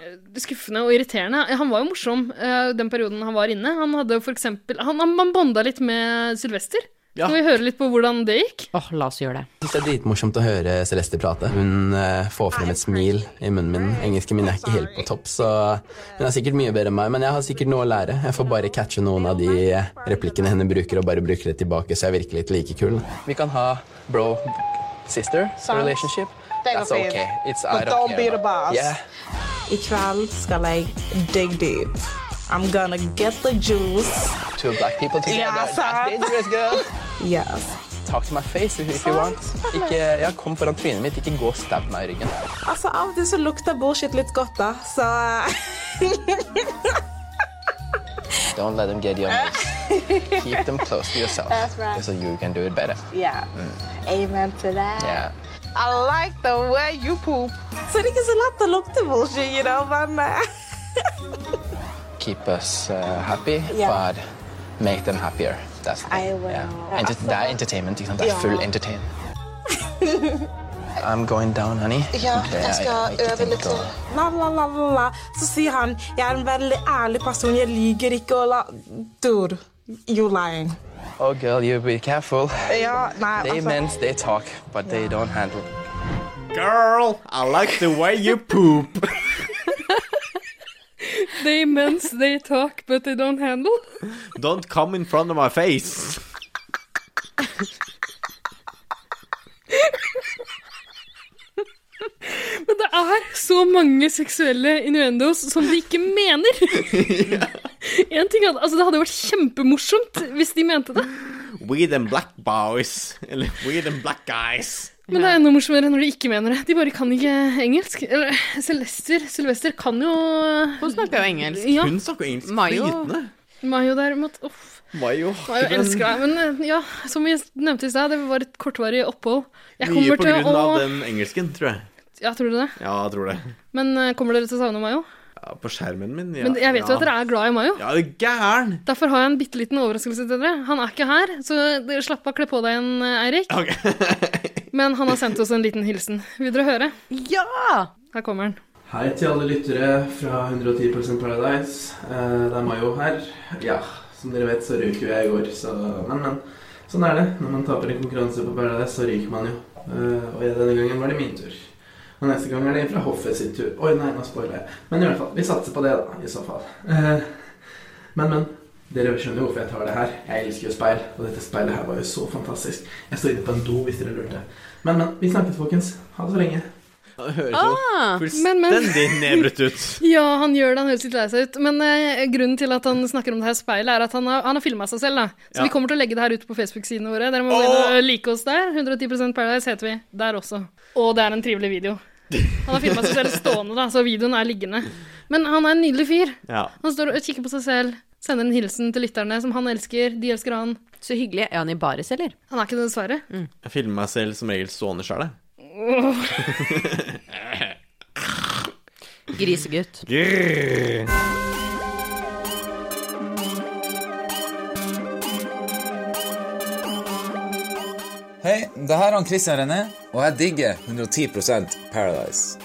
A: skuffende og irriterende. Han var jo morsom eh, den perioden han var inne. Han hadde for eksempel Han, han han bonda litt med Sylvester.
B: Ja.
A: Skal vi høre litt på hvordan det gikk?
C: Åh, la oss gjøre det.
I: Jeg synes det er dritmorsomt å høre Celeste prate. Hun eh, får frem et smil i munnen min. Engelsken min er ikke helt på topp, så hun er sikkert mye bedre enn meg, men jeg har sikkert noe å lære. Jeg får bare catche noen av de replikkene henne bruker, og bare bruker det tilbake, så jeg virker litt like kul. Vi kan ha bro sister relationship. That's okay. It's out of
J: don't be the boss.
I: Yeah.
J: I kveld skal jeg dig deep. I'm gonna get the juice.
I: Two black people together.
J: Ja, sant.
I: That's dangerous, girl.
J: Yes.
I: Talk to my face if, if you want. Ikke, ja, kom foran trynet mitt, ikke gå og stab meg i ryggen.
J: Altså, av og til så lukter bullshit litt godt, da. Så eh, (laughs)
I: Don't let them get your nerves.
J: (laughs)
I: Keep them close to yourself. That's
J: right.
I: So you can do it better.
J: yeah. Eh. Amen to that.
I: Yeah.
J: I like the way you poop. Så det er ikke så lett å lukte bullshit, you know, men eh, (laughs)
I: Keep us uh, happy,
J: Yeah.
I: but make them happier. That's the
J: I
I: thing,
J: will.
I: Yeah. Enter- det er entertainment, ikke sant? Det er
J: Ja.
I: full entertain. I'm going down,
J: (laughs)
I: honey. Det er- ikke tenk å-
J: La, la, la, la, la. Så sier han jeg er en veldig ærlig person, jeg lyver ikke og la Dude, you lying.
I: Oh, girl, you be careful.
J: Ja, nei, altså-
I: They meant they talk, but they don't handle.
B: Girl, I like the way you poop.
A: They mens they talk, but they don't handle.
B: Don't come in front of my face.
A: Men det er så mange seksuelle innuendos som de ikke mener.
B: (laughs)
A: (laughs) En ting er at- altså, Det hadde vært kjempemorsomt hvis de mente det.
B: We them black boys. Eller we them black guys.
A: Men det er enda morsommere når de ikke mener det. De bare kan ikke engelsk. Eller Celester, Sylvester kan jo
C: Hun snakker jo engelsk.
A: Ja,
B: Hun snakker engelsk
C: Mayo.
B: flytende.
A: Mayo derimot. Uff.
B: Mayo.
A: Mayo elsker deg. Men eh, ja, som vi nevnte i stad, det var et kortvarig opphold. Jeg
B: Mye
A: kommer
B: på grunn
A: til å
B: av den engelsken, tror jeg.
A: Ja, tror du det?
B: Ja, jeg tror det.
A: Men eh, kommer dere til å savne Mayo?
B: Ja, på skjermen min, ja.
A: Men jeg vet jo
B: ja.
A: at dere er glad i Mayo.
B: Ja, det er gæren.
A: Derfor har jeg en bitte liten overraskelse til dere. Han er ikke her, så dere slapp av, kle på deg igjen, eh, Eirik.
B: Ok. (laughs)
A: Men han har sendt oss en liten hilsen. Vil dere høre?
C: Ja!
A: Her kommer han.
I: Hei til alle lyttere fra 110 Paradise. Eh, Det er Mayo her. Ja, som dere vet, så røyk jo jeg i går, så Men, men. Sånn er det. Når man taper en konkurranse på Paradise, så ryker man jo. Eh, Og jeg- denne gangen var det min tur. Og neste gang er det en fra hoffet sitt tur. Oi, nei, nå spoiler jeg. Men i hvert fall, vi satser på det, da. I så fall. Eh, Men, men. Dere skjønner jo hvorfor jeg tar det her. Jeg elsker jo speil. Og dette speilet her var jo så fantastisk. Jeg står inne på en do, hvis dere lurte. Men, men. Vi snakkes, folkens. Ha det så lenge.
B: Det høres jo
C: Ah,
A: men- men- (laughs)
B: fullstendig nedbrutt ut.
A: Ja, han gjør det. Han høres litt lei seg ut. Men eh, grunnen til at han snakker om det her speilet, er at han har, han har filma seg selv. da. Så
B: Ja.
A: vi kommer til å legge det her ut på Facebook-sidene våre. Dere må gå inn og like oss der. 110 Paradise heter vi der også. Og det er en trivelig video. Han har filma seg selv stående, da, så videoen er liggende. Men han er en nydelig fyr.
B: Ja.
A: Han står og kikker på seg selv, sender en hilsen til lytterne, som han elsker. De elsker han.
C: så hyggelig. Er han i baris, eller?
A: Han er ikke det, dessverre.
C: Mm.
B: Jeg filmer meg selv som regel stående sjæl, jeg.
C: Grisegutt.
K: Hei, det her er han Christian René, og jeg digger 110 Paradise.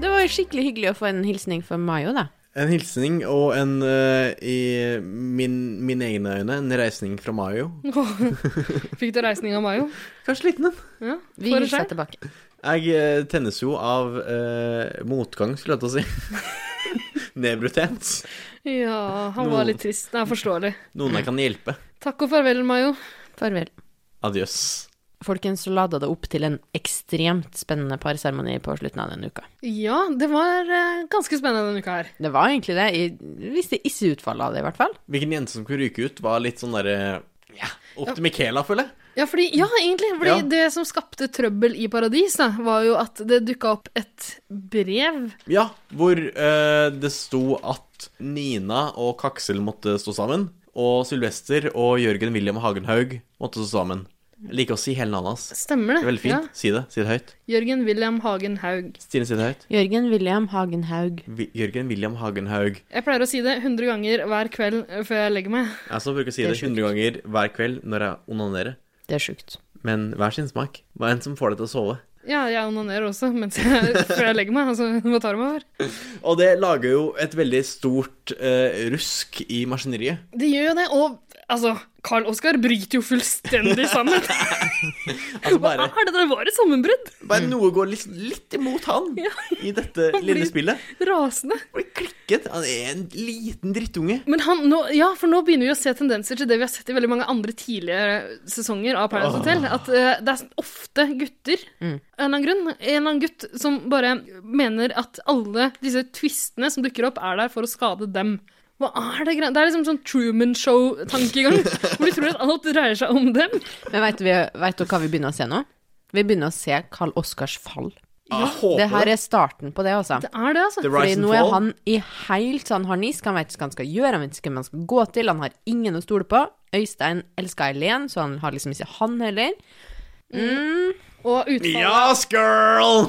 C: Det var jo skikkelig hyggelig å få en hilsning fra Mayo, da.
B: En hilsning og en, eh, i min, mine egne øyne, en reisning fra Mayo.
A: (laughs) Fikk du reisning av Mayo?
B: Kanskje liten en.
A: Ja.
C: Vi
A: For en
C: hilser
A: skjerm.
C: tilbake.
B: Jeg eh, tennes jo av eh, motgang, skulle jeg til å si. (laughs) Nedbruthet.
A: Ja, han var litt trist. Det er forståelig.
B: Noen jeg kan hjelpe.
A: Takk og farvel, Mayo.
C: Farvel.
B: Adjøs.
C: Folkens, så lada det opp til en ekstremt spennende parseremoni på slutten av denne uka.
A: Ja, det var eh, ganske spennende denne uka her.
C: Det var egentlig det. Jeg visste ikke utfallet av det, i hvert fall.
B: Hvilken jente som kunne ryke ut, var litt sånn derre ja, Opp til Michaela, føler jeg.
A: Ja, fordi, ja egentlig. Fordi
B: Ja.
A: det som skapte trøbbel i Paradis, da, var jo at det dukka opp et brev.
B: Ja, hvor eh, det sto at Nina og Kaksel måtte stå sammen. Og Sylvester og Jørgen William Hagenhaug måtte stå sammen. Jeg liker å si hele navnet hans.
A: Stemmer det?
B: er veldig fint. Si det. Si det høyt.
A: Ja. Jørgen William Hagen Haug.
B: Stine, si det høyt.
C: Jørgen William Hagenhaug.
B: Vi, Jørgen William Hagenhaug.
A: Jeg pleier å si det 100 ganger hver kveld eh, før jeg legger meg.
B: Jeg også bruker å si
A: Det er
B: det 100 ganger hver kveld når jeg onanerer.
C: Det er sjukt.
B: Men hver sin smak. Hva er en som får deg til å sove?
A: Ja, jeg onanerer også mens jeg, (laughs) før jeg legger meg. Altså, hva tar det meg for?
B: Og det lager jo et veldig stort eh, rusk i maskineriet.
A: De gjør jo det, og altså Carl Oskar bryter jo fullstendig sammen.
B: (laughs) Altså bare,
A: Hva er det der var et sammenbrudd?
B: bare noe går litt, litt imot han
A: (laughs)
B: i dette lille spillet.
A: Rasende.
B: Klikket. Han er en liten drittunge.
A: Men han, nå, ja, for nå begynner vi å se tendenser til det vi har sett i veldig mange andre tidligere sesonger av Paradise
B: Åh.
A: Hotel. At eh, det er ofte gutter, av en
C: Mm.
A: eller annen grunn. En eller annen gutt som bare mener at alle disse twistene som dukker opp, er der for å skade dem. Hva er det greia Det er liksom sånn Truman
B: (laughs)
A: Show-tankegang. hvor de tror at alt dreier seg om dem.
C: Men veit du hva vi begynner å se nå? Vi begynner å se Karl Oskars fall.
B: Jeg håper
C: Det her er starten på det, altså.
A: Det er det, altså.
B: The
C: Fordi
B: Rise and
C: nå er
B: Fall.
C: han i helt sånn harnisk. Han vet ikke hva han skal gjøre, han vet ikke hvem han skal gå til, han har ingen å stole på. Øystein elsker Eileen, så han har liksom ikke han heller. Mm.
A: Og utfallet,
B: Yes, girl!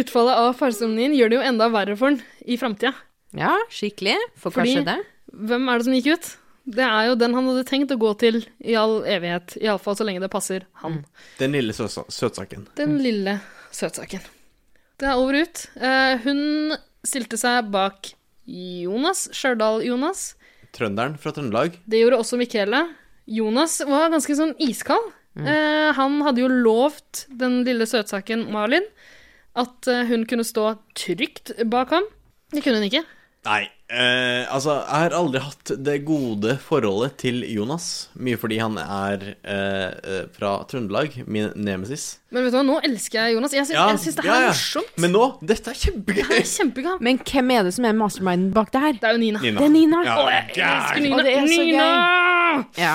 A: utfallet av farseremonien gjør det jo enda verre for han i framtida.
C: Ja, skikkelig. For hva
A: Fordi-
C: skjedde?
A: Hvem er det som gikk ut? Det er jo den han hadde tenkt å gå til i all evighet. Iallfall så lenge det passer
B: Mm.
A: han.
B: Den lille søsa- søtsaken.
A: Den lille søtsaken. Det er over og ut. Eh, hun stilte seg bak Jonas. Stjørdal-Jonas.
B: Trønderen fra Trøndelag.
A: Det gjorde også Michaela. Jonas var ganske sånn iskald.
B: Mm.
A: Eh, han hadde jo lovt den lille søtsaken Malin at eh, hun kunne stå trygt bak ham. Det kunne hun ikke.
B: Nei, eh, altså, jeg har aldri hatt det gode forholdet til Jonas. Mye fordi han er eh, eh, fra Trøndelag, min nemesis.
A: Men vet du hva, nå elsker jeg Jonas. Jeg syns, jeg syns det her
B: ja, ja.
A: er morsomt.
B: Men nå, dette er kjempegøy!
A: Det er kjempegalt.
C: Men hvem er det som er masterminden bak det her?
A: Det er jo Nina.
B: (laughs) Nina.
C: Det er Nina.
B: Ja,
A: Å, jeg elsker Nina.
C: Og det er så
A: Nina!
C: Ja.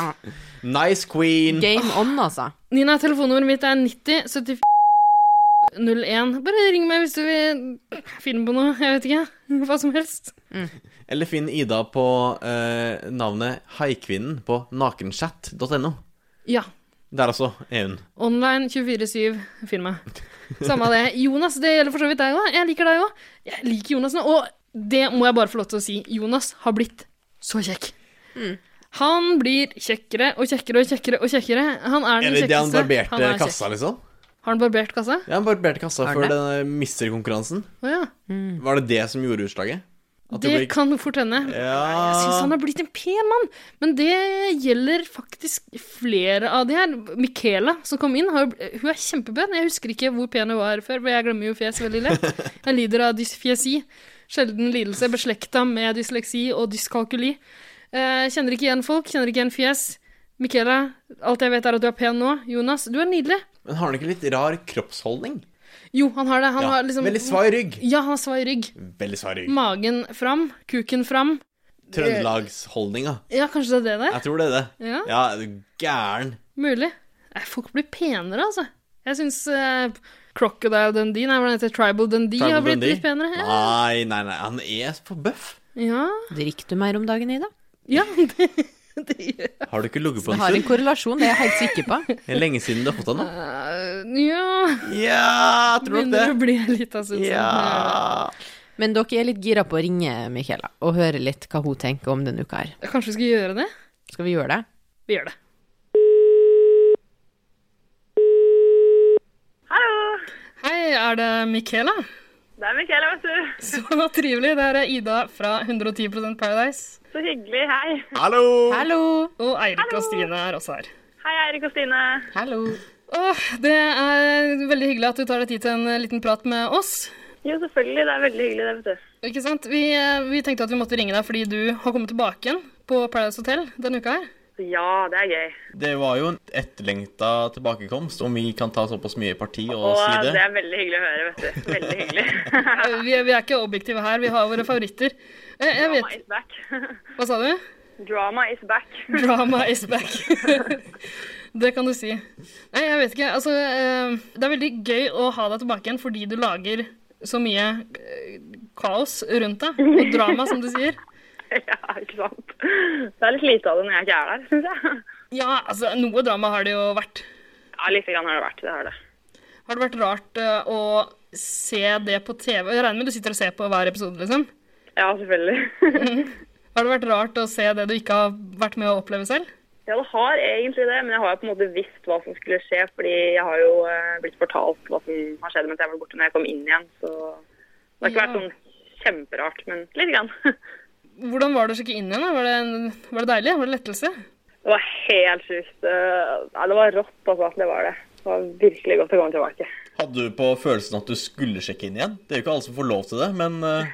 B: Nice queen.
C: Game on, altså.
A: Nina, telefonnummeret mitt er 90 74 01. Bare ring meg hvis du vil finne på noe. Jeg vet ikke. Hva som helst.
B: Eller finn Ida på eh, navnet Haikvinnen på nakenchat.no.
A: Ja.
B: Der også er hun.
A: Online 24-7. Finn meg. Samme det. Jonas, det gjelder for så vidt deg òg. Jeg liker deg òg. Jeg liker Jonas nå. Og det må jeg bare få lov til å si. Jonas har blitt så kjekk. Mm. Han blir kjekkere og kjekkere og kjekkere. og kjekkere. Han er den
B: Eller det han
A: kjekkeste.
B: barberte
A: er kjekk.
B: kassa, liksom?
A: Har han barbert kassa?
B: Ja, han barberte kassa
C: Har han
B: før den misterkonkurransen.
A: Å ja.
B: Var det det som gjorde utslaget? At
A: Det
B: ble-
A: kan fort hende. Jeg syns han
B: Ja
A: har blitt en pen mann. Men det gjelder faktisk flere av de her. Michaela som kom inn, har, jo- hun er kjempepen. Jeg husker ikke hvor pen hun var før, for jeg glemmer jo fjes veldig
B: (laughs)
A: lett. Jeg lider av dysfjesi. Sjelden lidelse beslekta med dysleksi og dyskalkuli. Eh, kjenner ikke igjen folk, kjenner ikke igjen fjes. Michaela, alt jeg vet er at du er pen nå. Jonas, du er nydelig.
B: Men har han ikke litt rar kroppsholdning?
A: Jo, han har det. Han
B: Ja,
A: har liksom
B: Veldig svai rygg.
A: Ja, han har svai rygg.
B: Veldig svai rygg.
A: Magen fram, kuken fram.
B: Trøndelagsholdninga.
A: Ja, kanskje det er det der?
B: Jeg tror det er det.
A: Ja.
B: Ja, er du gæren.
A: Mulig. Nei, folk blir penere, altså. Jeg syns eh, Crocodile Dundee, nei, hva heter det? Tribal Dundee
B: Tribal
A: har blitt
B: Dundee?
A: litt penere. Ja.
B: Nei, nei, nei. Han er for bøff.
A: Ja.
C: Drikker du mer om dagen, Ida?
A: ja, (laughs) det, det gjør
B: Har du ikke ligget på
C: Det
B: en
C: har en
B: stund?
C: korrelasjon, det er jeg helt sikker
B: (laughs)
C: på.
B: Det er lenge siden du har fått deg
A: (laughs)
B: nå.
A: Eh, Ja
B: Ja, tror du
A: Begynner å
B: det?
A: bli sånn en liten stund siden.
B: Ja.
C: Men dere er litt gira på å ringe Michaela og høre litt hva hun tenker om denne uka her.
A: eh, Kanskje vi skal gjøre det?
C: Skal vi gjøre det?
A: Vi gjør det. Hallo. Hei, er det Michaela?
L: Det er Michaela, vet du.
A: Så trivelig. Det her er Ida fra 110 Paradise.
L: Så hyggelig. Hei.
B: Hallo!
C: Hallo!
A: Og Eirik og Stine er også her.
L: Hei, Eirik og Stine.
C: Hallo.
A: Åh, det er veldig hyggelig at du tar deg tid til en eh, liten prat med oss.
L: Jo, selvfølgelig. Det er veldig hyggelig, det, vet du.
A: Ikke sant? Vi, eh, vi tenkte at vi måtte ringe deg fordi du har kommet tilbake igjen på Paradise Hotel denne uka her.
L: Så ja, det er gøy.
B: Det var jo en etterlengta tilbakekomst, om vi kan ta såpass mye parti og
L: Og
B: si
L: det
B: det.
L: er veldig hyggelig å høre, vet du. Veldig hyggelig.
A: Eh, Vi, vi er ikke objektive her, vi har våre favoritter. Eh, Jeg
L: Ja,
A: vet,
L: my is back.
A: hva sa du?
L: Drama is back.
A: Drama is back. (laughs) det kan du si. Nei, jeg vet ikke. Altså, eh, det er veldig gøy å ha deg tilbake igjen fordi du lager så mye eh, kaos rundt deg. Og drama, som du sier.
L: ja, ikke sant. Det er litt lite av det når jeg ikke er der, syns jeg.
A: Ja, altså, noe drama har det jo vært.
L: Ja, lite grann har det vært. Det har det.
A: Har det vært rart eh, å se det på TV? Jeg regner med du sitter og ser på hver episode, liksom?
L: Ja, selvfølgelig. (laughs)
A: Mhm. Har det vært rart å se det du ikke har vært med å oppleve selv?
L: Ja, det har egentlig det, men jeg har jo på en måte visst hva som skulle skje, fordi jeg har jo eh, blitt fortalt hva som har skjedd mens jeg var borte når jeg kom inn igjen, så det har ikke
A: Ja.
L: vært sånn kjemperart, men litt grann. (laughs)
A: Hvordan var det å sjekke inn igjen? da? Var det, en, var det deilig? Var det lettelse?
L: Det var helt sjukt. eh, Ja, det var rått, altså. Det var det. Det var virkelig godt å komme tilbake.
B: Hadde du på følelsen at du skulle sjekke inn igjen? Det er jo ikke alle som får lov til det, men eh,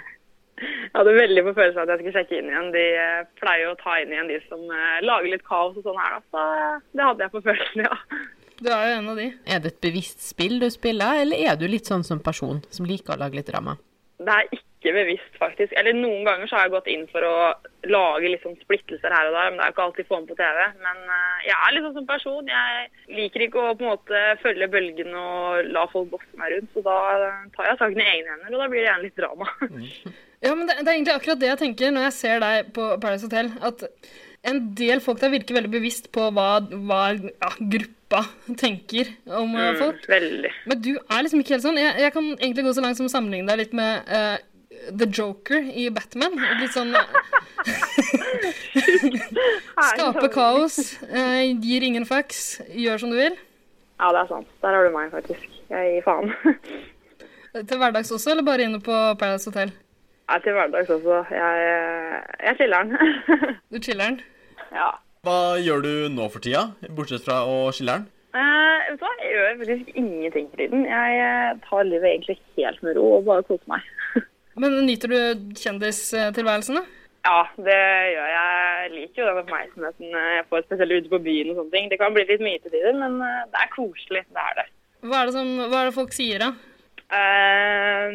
L: Jeg hadde veldig på følelsen at jeg skulle sjekke inn igjen. De eh, pleier jo å ta inn igjen de som eh, lager litt kaos og sånn her, da. Så eh, det hadde jeg på følelsen, (laughs) ja.
A: Du er jo en av de.
C: Er det et bevisst spill du spiller, eller er du litt sånn som person, som liker å lage litt drama?
L: Det er ikke bevisst, faktisk. Eller noen ganger så har jeg gått inn for å lage litt sånn splittelser her og der, men det er jo ikke alltid få den på TV. Men eh, jeg er litt sånn som person. Jeg liker ikke å på en måte følge bølgen og la folk bosse meg rundt, så da eh, tar jeg saken i egne hender, og da blir det gjerne litt drama. (laughs)
A: Ja, men det, det er egentlig akkurat det jeg tenker når jeg ser deg på Paradise Hotel. At en del folk der virker veldig bevisst på hva, hva ja, gruppa tenker om eh, folk.
L: veldig.
A: Men du er liksom ikke helt sånn. Jeg, jeg kan egentlig gå så langt som å sammenligne deg litt med eh, The Joker i Batman. Litt sånn (laughs) Skape kaos, eh, gir ingen fucks, gjør som du vil.
L: Ja, det er sant. Der har du meg, faktisk. Jeg gir faen. (laughs)
A: Til hverdags også, eller bare inne på Paradise Hotel?
L: Jeg er til hverdags også. Jeg, eh, jeg chiller (laughs) den.
A: Du chiller'n?
L: Ja.
B: hva gjør du nå for tida? Bortsett fra å chiller'n?
L: Eh, vet du hva? Jeg gjør faktisk ingenting for tiden. Jeg eh, tar livet egentlig helt med ro og bare koser meg.
A: Men nyter du kjendistilværelsen, da?
L: Ja, det gjør jeg. Jeg liker jo den oppmerksomheten eh, jeg får, spesielt ute på byen og sånne ting. Det kan bli litt mye til tider, men eh, det er koselig. Det er det.
A: Hva er det, som, hva er det folk sier, da?
L: Eh,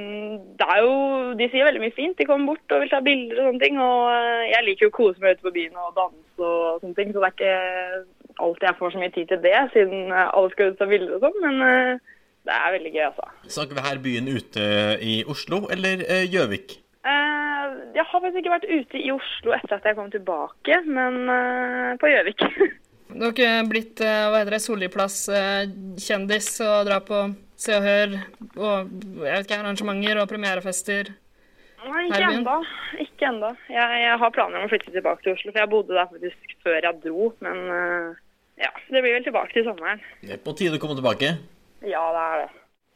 L: det er jo, de sier veldig mye fint. De kommer bort og vil ta bilder og sånne ting. Og eh, jeg liker jo å kose meg ute på byen og danse og sånne ting, så det er ikke alltid jeg får så mye tid til det, siden eh, alle skal ut og ta bilder og sånn. Men eh, det er veldig gøy, altså.
B: Snakker vi her byen ute i Oslo eller eh, Gjøvik?
L: Eh, jeg har faktisk ikke vært ute i Oslo etter at jeg kom tilbake, men eh, på (laughs) Gjøvik.
A: Du har ikke blitt eh, hva heter det, Solliplass-kjendis og dra på Se og Hør og jeg vet ikke, arrangementer og premierefester?
L: Nei, ikke
A: Herman?
L: ennå. Ikke enda. Jeg, jeg har planer om å flytte tilbake til Oslo, for jeg bodde der faktisk før jeg dro. Men eh, ja, det blir vel tilbake til sommeren.
B: Det er på tide å komme tilbake. (laughs)
L: Ja, det er det.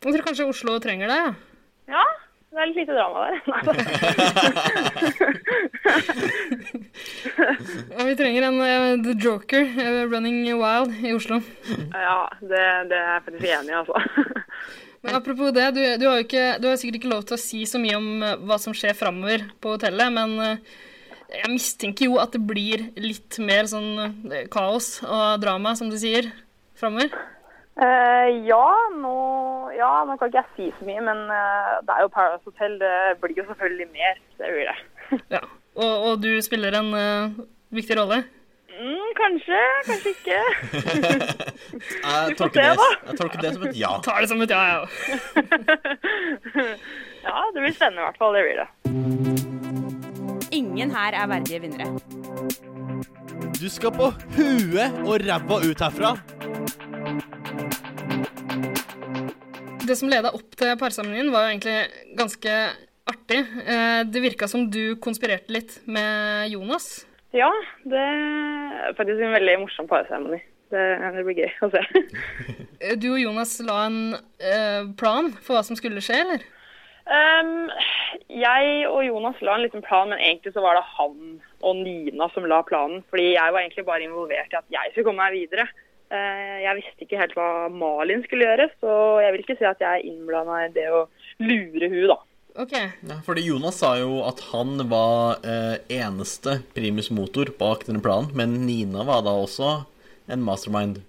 A: Jeg tror kanskje Oslo trenger deg. ja.
L: Ja, det er litt lite drama der. (laughs) Nei,
A: Ja, vi trenger en eh, The Joker, eh, Running Wild, i Oslo.
L: ja, det, det er jeg faktisk enig i, altså. (laughs)
A: Men apropos det, du, du, har jo ikke, du har sikkert ikke lov til å si så mye om eh, hva som skjer framover på hotellet, men eh, jeg mistenker jo at det blir litt mer sånn eh, kaos og drama, som du sier, framover.
L: Eh, ja, nå, ja, nå kan ikke jeg si så mye, men eh, det er jo Paradise Hotel. Det blir jo selvfølgelig mer. Det blir det.
A: Ja. Og, og du spiller en eh, viktig rolle.
L: Mm, kanskje, kanskje ikke. (laughs)
B: Jeg
L: Vi får
B: tolker,
L: se,
B: det,
L: da.
B: jeg tolker det som et ja.
A: Tar det som et ja, jeg òg.
L: (laughs) Ja, det blir spennende i hvert fall. Det blir det.
D: Ingen her er verdige vinnere.
B: Du skal på huet og ræva ut herfra.
A: Det som leda opp til parseremonien, var jo egentlig ganske artig. Eh, Det virka som du konspirerte litt med Jonas.
L: Ja, det er faktisk en veldig morsom parseremoni. Det, det blir gøy å se. (laughs)
A: Eh, Du og Jonas la en eh, plan for hva som skulle skje, eller?
L: Ehm, jeg og Jonas la en liten plan, men egentlig så var det han og Nina som la planen. Fordi jeg var egentlig bare involvert i at jeg skulle komme meg videre. Eh, jeg visste ikke helt hva Malin skulle gjøre, så jeg vil ikke si at jeg er innblanda i det å lure hun da.
A: Ok.
B: Ja, fordi Jonas sa jo at han var eh, eneste primus motor bak denne planen, men Nina var da også en mastermind.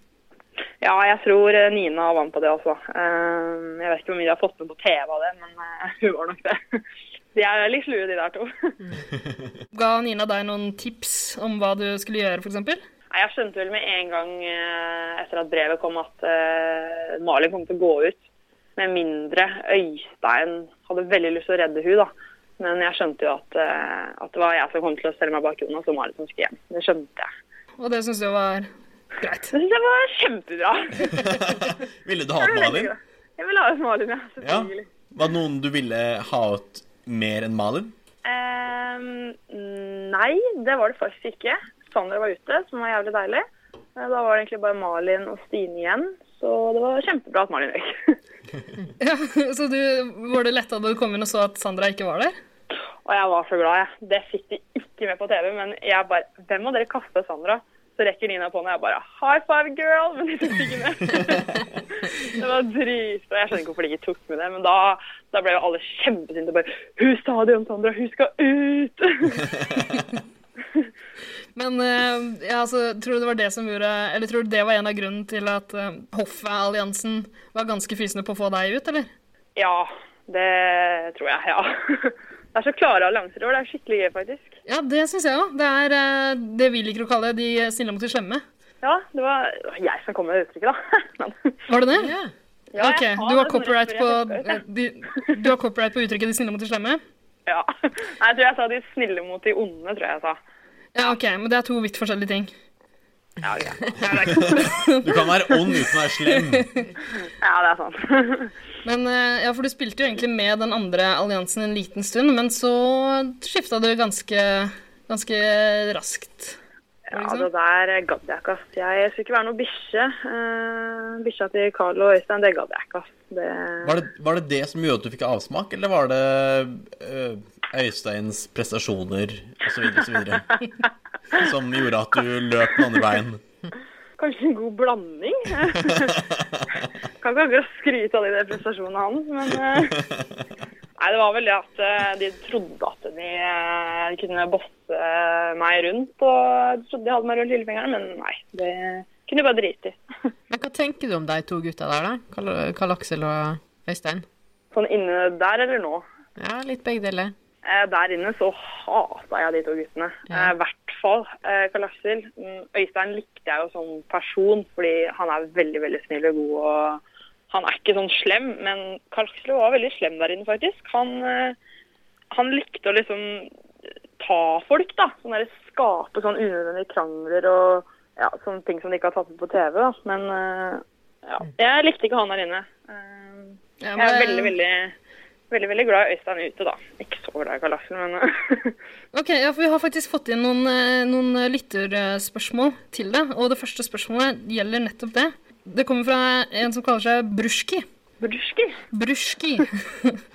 L: Ja, jeg tror eh, Nina (laughs) vant på det også. Ehm, jeg vet ikke hvor mye de har fått med på TV av det, men eh, hun eh, var nok det. De er litt slue, de der to.
A: Ga Nina deg noen tips om hva du skulle gjøre, f.eks.?
L: Nei, Jeg skjønte vel med en gang eh, etter at brevet kom at eh, Malin kom til å gå ut. Med mindre Øystein hadde veldig lyst til å redde hun da. Men jeg skjønte jo at, eh, at det var jeg som kom til å stelle meg bak Jonas og Malin som skulle hjem. Det skjønte jeg.
A: Og det syns du var greit? (laughs)
L: Det synes jeg var kjempebra.
B: Ville du ha ut
L: Det var veldig
B: Malin?
L: bra. (laughs) Jeg vil ha ut Malin, ja.
B: Ja.
L: Selvfølgelig.
B: Var det noen du ville ha ut mer enn Malin?
L: Ehm, nei, det var det faktisk ikke. Sandra var ute, som var jævlig deilig. Eh, Da var det egentlig bare Malin og Stine igjen. Så det var kjempebra at Malin røyk.
A: Ja, så du, Var det letta da du kom inn og så at Sandra ikke var der?
L: (laughs) Og jeg var så glad, jeg. Det fikk de ikke med på TV, men jeg bare Hvem av dere kasta Sandra? Så rekker Nina på meg, og jeg bare High five, girl! (laughs) Men de tok ikke med. det var dritbra. Jeg skjønner ikke hvorfor de ikke tok med det, men da, da ble jo alle kjempesinte og bare Hun sa det om Sandra, hun skal ut! (laughs)
A: Men eh, ja, altså, tror du det var det som gjorde Eller tror du det var en av grunnen til at eh, hoffalliansen var ganske fysende på å få deg ut, eller?
L: ja, det tror jeg, ja. (laughs) Det er så klare allianser i år. Det er skikkelig gøy, faktisk.
A: Ja, det syns jeg òg. Det er eh, det vi liker å kalle de snille mot de slemme.
L: Ja, det var det var jeg som kom med det uttrykket, da. (laughs)
A: Var det det?
L: Ja,
A: ok,
L: jeg har
A: du har,
L: det sånn
A: copyright
L: rett
A: på,
L: før jeg tok
A: de, du har copyright på uttrykket 'de snille mot de slemme'?
L: (laughs) Ja. Nei, jeg tror jeg sa de snille mot de onde, tror jeg jeg sa.
A: Ja, ok, men det er to vidt forskjellige ting.
L: Ja, greit.
B: Du kan være ond uten å være slem.
L: Ja, det er sant. (laughs)
A: Men eh, ja, for du spilte jo egentlig med den andre alliansen en liten stund, men så skifta du ganske, ganske raskt.
L: Ja, det der gadd jeg ikke, ass. Jeg skulle ikke være noe bikkje. Eh, bikkja til Carl og Øystein, det gadd jeg ikke, ass. Det...
B: Var det, var det det som gjorde at du fikk avsmak, eller var det øh, Øysteins prestasjoner osv. osv. som gjorde at du løp den andre veien?
L: Kanskje en god blanding? kan ikke akkurat skryte av de der prestasjonene hans, men eh, Nei, det var vel det at eh, de trodde at de eh, kunne bosse meg rundt. Og de trodde de hadde meg rundt lillefingeren, men nei. Det kunne de bare drite i. (laughs)
C: Men hva tenker du om de to gutta der, da? Karl- Karl Aksel og Øystein?
L: Sånn inne der eller nå?
C: Ja, litt begge deler.
L: Eh, Der inne så hata jeg de to guttene. I hvert fall eh, Karl Aksel. Mm, Øystein likte jeg jo som person, fordi han er veldig veldig snill og god. og Han er ikke sånn slem, men Karl Aksel var veldig slem der inne, faktisk. Han, eh, han likte å liksom ta folk, da. Sånn der, skape sånn unødvendige krangler og ja, sånne ting som de ikke har tatt med på TV. da. Men eh, ja, jeg likte ikke han der inne. Eh,
A: Ja,
L: Jeg er
A: men-
L: veldig, veldig Veldig veldig glad i Øystein ute, da. Ikke så glad i Karl Aksel, men eh, (laughs)
A: Ok, ja, for Vi har faktisk fått inn noen, eh, noen eh, lytterspørsmål til det. Og det første spørsmålet gjelder nettopp det. Det kommer fra en som kaller seg Brusjki.
L: Brusjki?
A: Brusjki.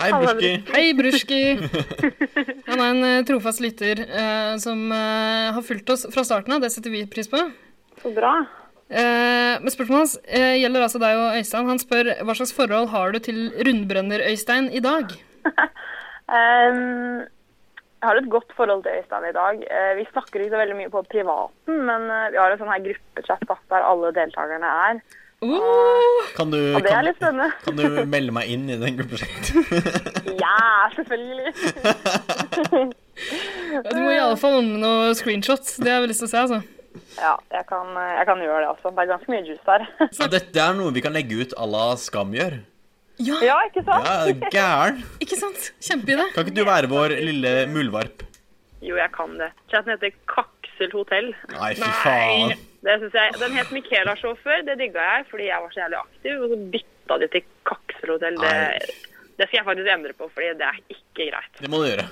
B: Hei, Brusjki.
A: Hei, Brusjki.
L: (laughs)
A: Han er en eh, trofast lytter eh, som eh, har fulgt oss fra starten av. Det setter vi pris på.
L: så bra.
A: Eh, men spørsmålet hans eh, gjelder altså deg og Øystein. Han spør hva slags forhold har du til rundbrønner-Øystein i dag?
L: Ehm, jeg har et godt forhold til Øystein i dag. Eh, vi snakker ikke så veldig mye på privaten, men eh, vi har en sånn her gruppechat da, der alle deltakerne er.
A: Uh,
B: Kan du,
L: Og det er
B: kan,
L: litt spennende.
B: kan du melde meg inn i den gruppeprosjektet?
L: Ja,
B: (laughs)
L: selvfølgelig.
A: Du må iallfall ordne noen screenshots. Det har vi lyst til å se, altså.
L: Ja, jeg kan, jeg kan gjøre det også. Det er ganske mye juice
B: (laughs)
L: der.
B: Ja, dette er noe vi kan legge ut à la Skam gjør.
A: Ja,
L: ikke sant?
B: Ja, gæren.
A: Ikke sant? Kjempeidé.
B: Kan ikke du være vår lille muldvarp?
L: Jo, jeg kan det. Chatten heter Kaksel Hotell.
B: Nei, fy faen.
L: Det synes jeg, Den het Michaela-show før. Det digga jeg fordi jeg var så jævlig aktiv. Og så bytta de til Kaksel Hotell. Det, det skal jeg faktisk endre på, fordi det er ikke greit.
B: Det må du gjøre.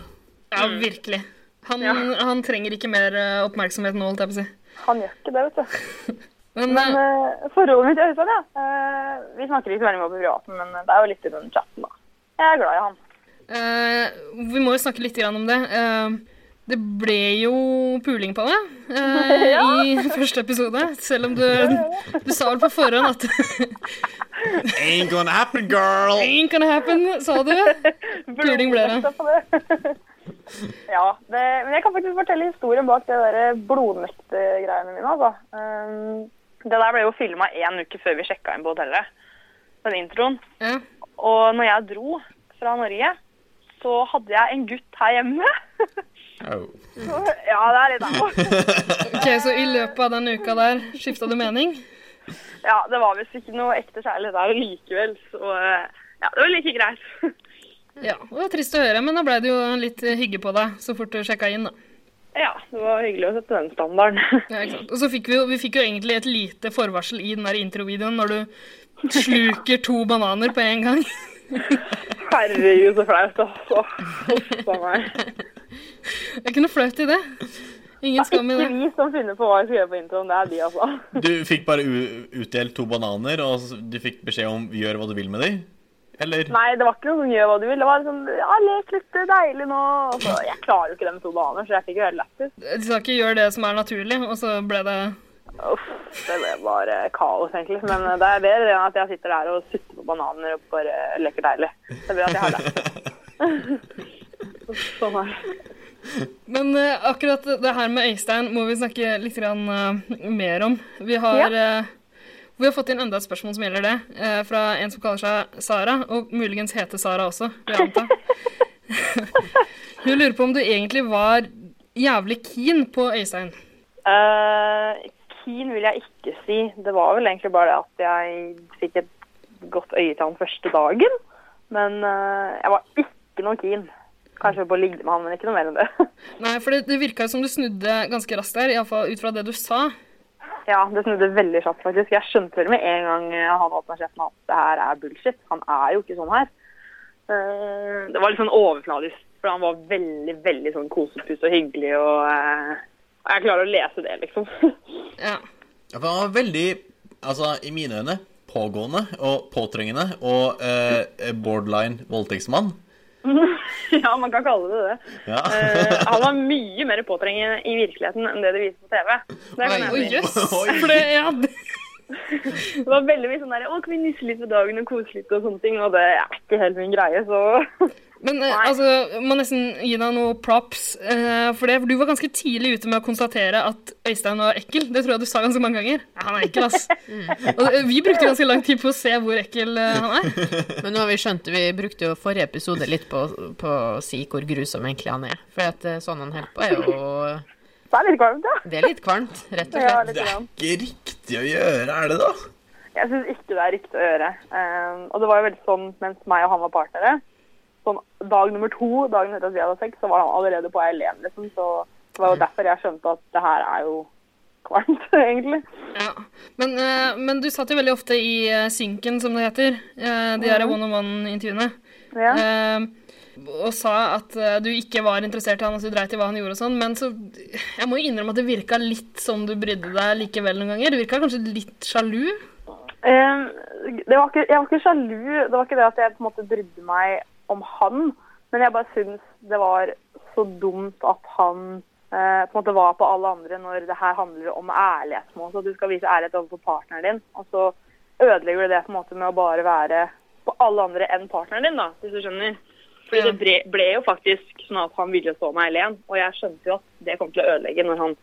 A: Ja, virkelig. Han, han trenger ikke mer eh, oppmerksomhet nå, holdt jeg på å si.
L: Han gjør ikke det, vet du.
A: Men,
L: Men eh, forholdet mitt til Øystein, ja. Eh, vi snakker ikke så veldig mye på privaten, men eh, det er jo litt i den chatten, da. Jeg er glad i han.
A: Eh, vi må jo snakke litt grann om det. Eh, det ble jo puling på det (laughs) eh, i første episode, selv om du, du sa vel på forhånd at (laughs)
B: Ain't gonna happen, girl.
A: Ain't gonna happen, sa du. (laughs) Puling ble det.
L: (laughs) Ja, det, men jeg kan faktisk fortelle historien bak det der eh, blodnekte-greiene mine, altså. Ehm, det der ble jo filma én uke før vi sjekka inn på hotellet, den introen.
A: Ja.
L: Og når jeg dro fra Norge, så hadde jeg en gutt her hjemme. (laughs) Så, ja, det er litt au.
A: Ok, Så i løpet av den uka der skifta du mening?
L: Ja, det var visst ikke noe ekte kjærlighet der likevel, så eh, ja, det var like greit. (laughs)
A: Ja, Det var trist å høre, men da ble det jo litt eh, hygge på deg så fort du sjekka inn. da.
L: Ja, det var hyggelig å sette den standarden.
A: (laughs) Ja, ikke sant. Og så fikk vi, jo, vi fikk jo egentlig et lite forvarsel i den der introvideoen når du sluker to bananer på en gang.
L: Herregud, så flaut, altså. Huff a meg.
A: Det er ikke noe flaut i det. Ingen skam i
L: det.
A: det.
L: er Ikke vi som finner på hva vi skal gjøre på introen, det er de, altså.
B: Du fikk bare u- utdelt to bananer, og s- du fikk beskjed om 'gjør hva du vil med dem'? Eller?
L: Nei, det var ikke noe som gjør hva du vil. Det var liksom ja, lek litt det er deilig nå. Og så, jeg klarer jo ikke det med to baner, så jeg fikk jo helt lættis.
A: De sa ikke 'gjør det som er naturlig', og så ble det
L: Uff, det ble bare kaos, egentlig. Men det er bedre enn at jeg sitter der og sutter på bananer og bare leker deilig. Det Sånn er bedre at jeg har lættis. Uff a meg.
A: Men eh, akkurat det her med Øystein må vi snakke litt grann, eh, mer om. Vi har,
L: Ja.
A: eh, vi har fått inn enda et spørsmål som gjelder det, eh, fra en som kaller seg Sara, og muligens heter Sara også, vil jeg anta. Hun lurer på om du egentlig var jævlig keen på Øystein.
L: Eh, keen vil jeg ikke si. Det var vel egentlig bare det at jeg fikk et godt øye til han første dagen. Men eh, jeg var ikke noe keen. Kanskje på å ligge med han, men ikke noe mer enn det.
A: Nei, for det, det virka jo som du snudde ganske raskt der, iallfall ut fra det du sa.
L: ja, det snudde veldig kjapt, faktisk. Jeg skjønte vel med en gang eh, han åpna kjeften at det her er bullshit. Han er jo ikke sånn her. Eh, det var litt sånn overfladisk, for han var veldig, veldig sånn kosepus og hyggelig og eh, Jeg klarer å lese det, liksom. (laughs)
B: Ja, for han var veldig, altså i mine øyne, pågående og påtrengende og eh, borderline voldtektsmann.
L: ja, man kan kalle det det.
B: Ja. (laughs)
L: Eh, han var mye mer påtrengende i virkeligheten enn det de viser på TV. Det kan
A: (laughs) Oi,
L: jeg
A: jøss!
L: si.
A: For det, ja, det-
L: Det var veldig mye sånn der, å, kan vi nysse litt på dagen og kose litt og sånne ting, og det er ikke helt min greie, så (laughs)
A: Men eh, altså, må nesten gi deg noe props eh, for det. For du var ganske tidlig ute med å konstatere at Øystein var ekkel. Det tror jeg du sa ganske mange ganger. Ja, han er ekkel, ass. Og eh, vi brukte ganske lang tid på å se hvor ekkel eh, han er.
C: Men nå har vi skjønt, vi brukte jo forrige episode litt på, på å si hvor grusom egentlig han er. For at eh, sånn han holder på er jo
L: Det er litt kvalmt, ja.
C: Det er litt kvalmt, rett og
L: Ja,
C: slett.
L: litt grann.
B: Ikke riktig å gjøre, er det da?
L: Jeg syns ikke det er riktig å gjøre. Eh, og det var jo veldig sånn mens meg og han var partnere. Sånn, dag nummer to, dagen etter at vi hadde sex, så var han allerede på vei hjem, liksom. Så det var jo derfor jeg skjønte at det her er jo kvalmt, (laughs) egentlig.
A: Men, eh, men du satt jo veldig ofte i eh, synken, som det heter. eh, de der
L: Mhm.
A: one on one-intervjuene.
L: Ja.
A: Eh, og sa at eh, du ikke var interessert i han, at du dreit i hva han gjorde og sånn. Men så Jeg må jo innrømme at det virka litt som du brydde deg likevel noen ganger. Du virka kanskje litt sjalu?
L: Eh, det var ikke, jeg var ikke sjalu. Det var ikke det at jeg på en måte brydde meg om han. Men jeg bare syns det var så dumt at han eh, på en måte var på alle andre når det her handler om ærlighet. på en måte, At du skal vise ærlighet overfor partneren din. Og så ødelegger du det på en måte med å bare være på alle andre enn partneren din, da, hvis du skjønner. Fordi det ble, ble jo faktisk sånn at han ville stå meg alene, og jeg skjønte jo at det kom til å ødelegge når han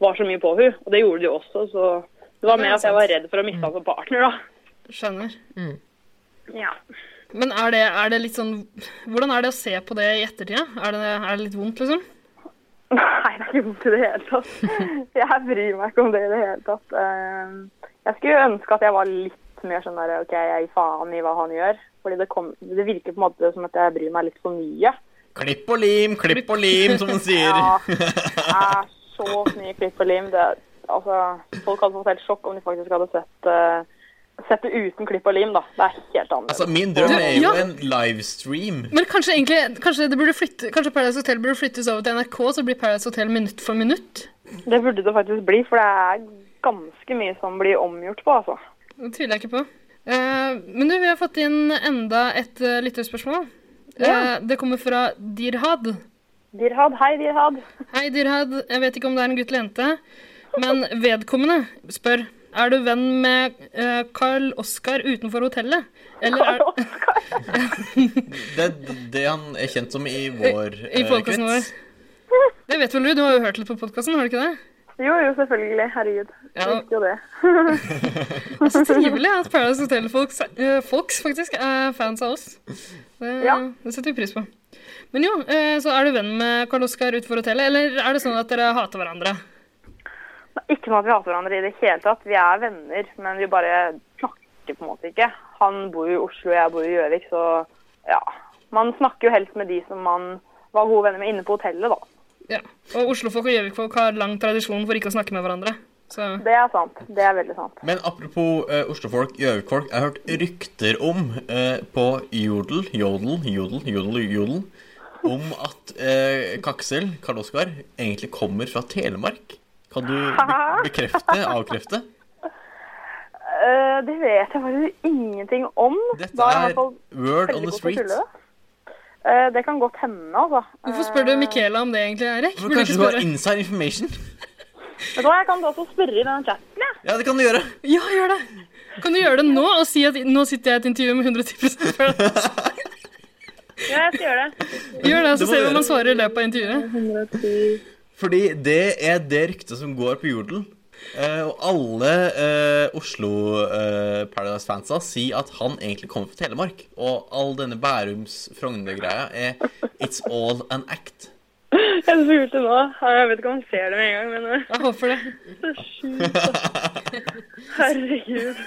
L: var så mye på hun, og det gjorde det jo også, så det Mm. var mer at jeg var redd for å miste han som partner, da.
A: Skjønner.
L: Ja. (laughs)
A: Men er det, er det litt sånn Hvordan er det å se på det i ettertida? Er det, er det litt vondt, liksom?
L: Nei, det er ikke vondt i det hele (laughs) tatt. Jeg bryr meg ikke om det i det hele tatt. Eh, Jeg skulle ønske at jeg var litt mer sånn der OK, jeg gir faen i hva han gjør. Fordi det, kom, det virker på en måte som at jeg bryr meg litt for mye.
B: Klipp og lim, klipp og lim,
L: (laughs)
B: som man sier.
L: er så mye klipp og lim. Det, altså, folk hadde fått helt sjokk om de faktisk hadde sett, eh, sett det uten klipp og lim. Da. Det er helt annerledes.
B: Altså, min drøm er jo
A: Ja.
B: en livestream.
A: Men kanskje egentlig Kanskje, det burde flytte, kanskje Paradise Hotel burde flyttes over til NRK, så blir Paradise Hotel minutt for minutt?
L: Det burde det faktisk bli, for det er ganske mye som blir omgjort på. altså.
A: Det tviler jeg ikke på. Eh, men du, vi har fått inn enda et eh, lytterspørsmål. Eh,
L: Ja.
A: det kommer fra Dirhad.
L: Dirhad, hei Dirhad.
A: Hei Dirhad, jeg vet ikke om det er en gutt eller jente, men vedkommende spør er du venn med eh, Carl Oskar utenfor hotellet? Eller er,
B: Det er det han er kjent som i vår
A: I
B: eh,
A: podkasten vår.
B: krets.
A: Det vet vel du, du har jo hørt litt på podkasten, har du ikke det?
L: (laughs) Jo, jo, selvfølgelig. Herregud.
A: Ja.
L: Jeg visste jo det.
A: Det er så trivelig at Paradise eh, Hotel-folks faktisk er fans av oss. Det, det setter vi pris på. Men jo, eh, så er du venn med Karl Oskar utenfor hotellet, eller er det sånn at dere hater hverandre?
L: Ikke sånn at vi hater hverandre i det hele tatt. Vi er venner, men vi bare snakker på en måte ikke. Han bor jo i Oslo, jeg bor i Gjøvik, så ja. Man snakker jo helst med de som man var gode venner med inne på hotellet, da.
A: Ja. Og oslofolk og gjøvikfolk har lang tradisjon for ikke å snakke med hverandre. Så.
L: Det er sant. Det er veldig sant.
B: Men apropos eh, oslofolk, gjøvikfolk. Jeg har hørt rykter om eh, på Jodel, Jodel, Jodel, Jodel, Jodel om at eh, Kaksel, Karl Oskar, egentlig kommer fra Telemark. Kan du be bekrefte,
L: (laughs)
B: avkrefte?
L: Eh, det vet jeg faktisk ingenting om.
B: Dette
L: Da er jeg i
B: er
L: hvert fall
B: word on the
L: veldig god til å
B: street.
L: tulle det. Eh, det kan godt hende, altså.
A: Hvorfor spør du Michaela om det egentlig, Eirik?
B: Men kanskje du har inside information?
L: Vet du hva, jeg kan også spørre i den chatten, jeg.
B: Ja, det kan du gjøre.
A: Ja, gjør det! Kan du gjøre det nå og si at nå sitter jeg i et intervju med 110
B: (laughs)
A: Paradise?
L: Ja, jeg skal gjøre det.
A: Gjør det, så
B: Det må
A: ser vi
B: du
A: om han
B: gjøre.
A: svarer i løpet av intervjuet.
B: Fordi det er det ryktet som går på Jodel. Eh, og alle eh, Oslo eh, Paradise-fansa sier at han egentlig kommer fra Telemark. Og all denne Bærums-Frogner-greia er It's all an act.
L: Jeg spurte nå. Jeg vet ikke om han ser det med en gang, men eh,
A: Jeg håper det.
L: Så sjukt, altså. Herregud.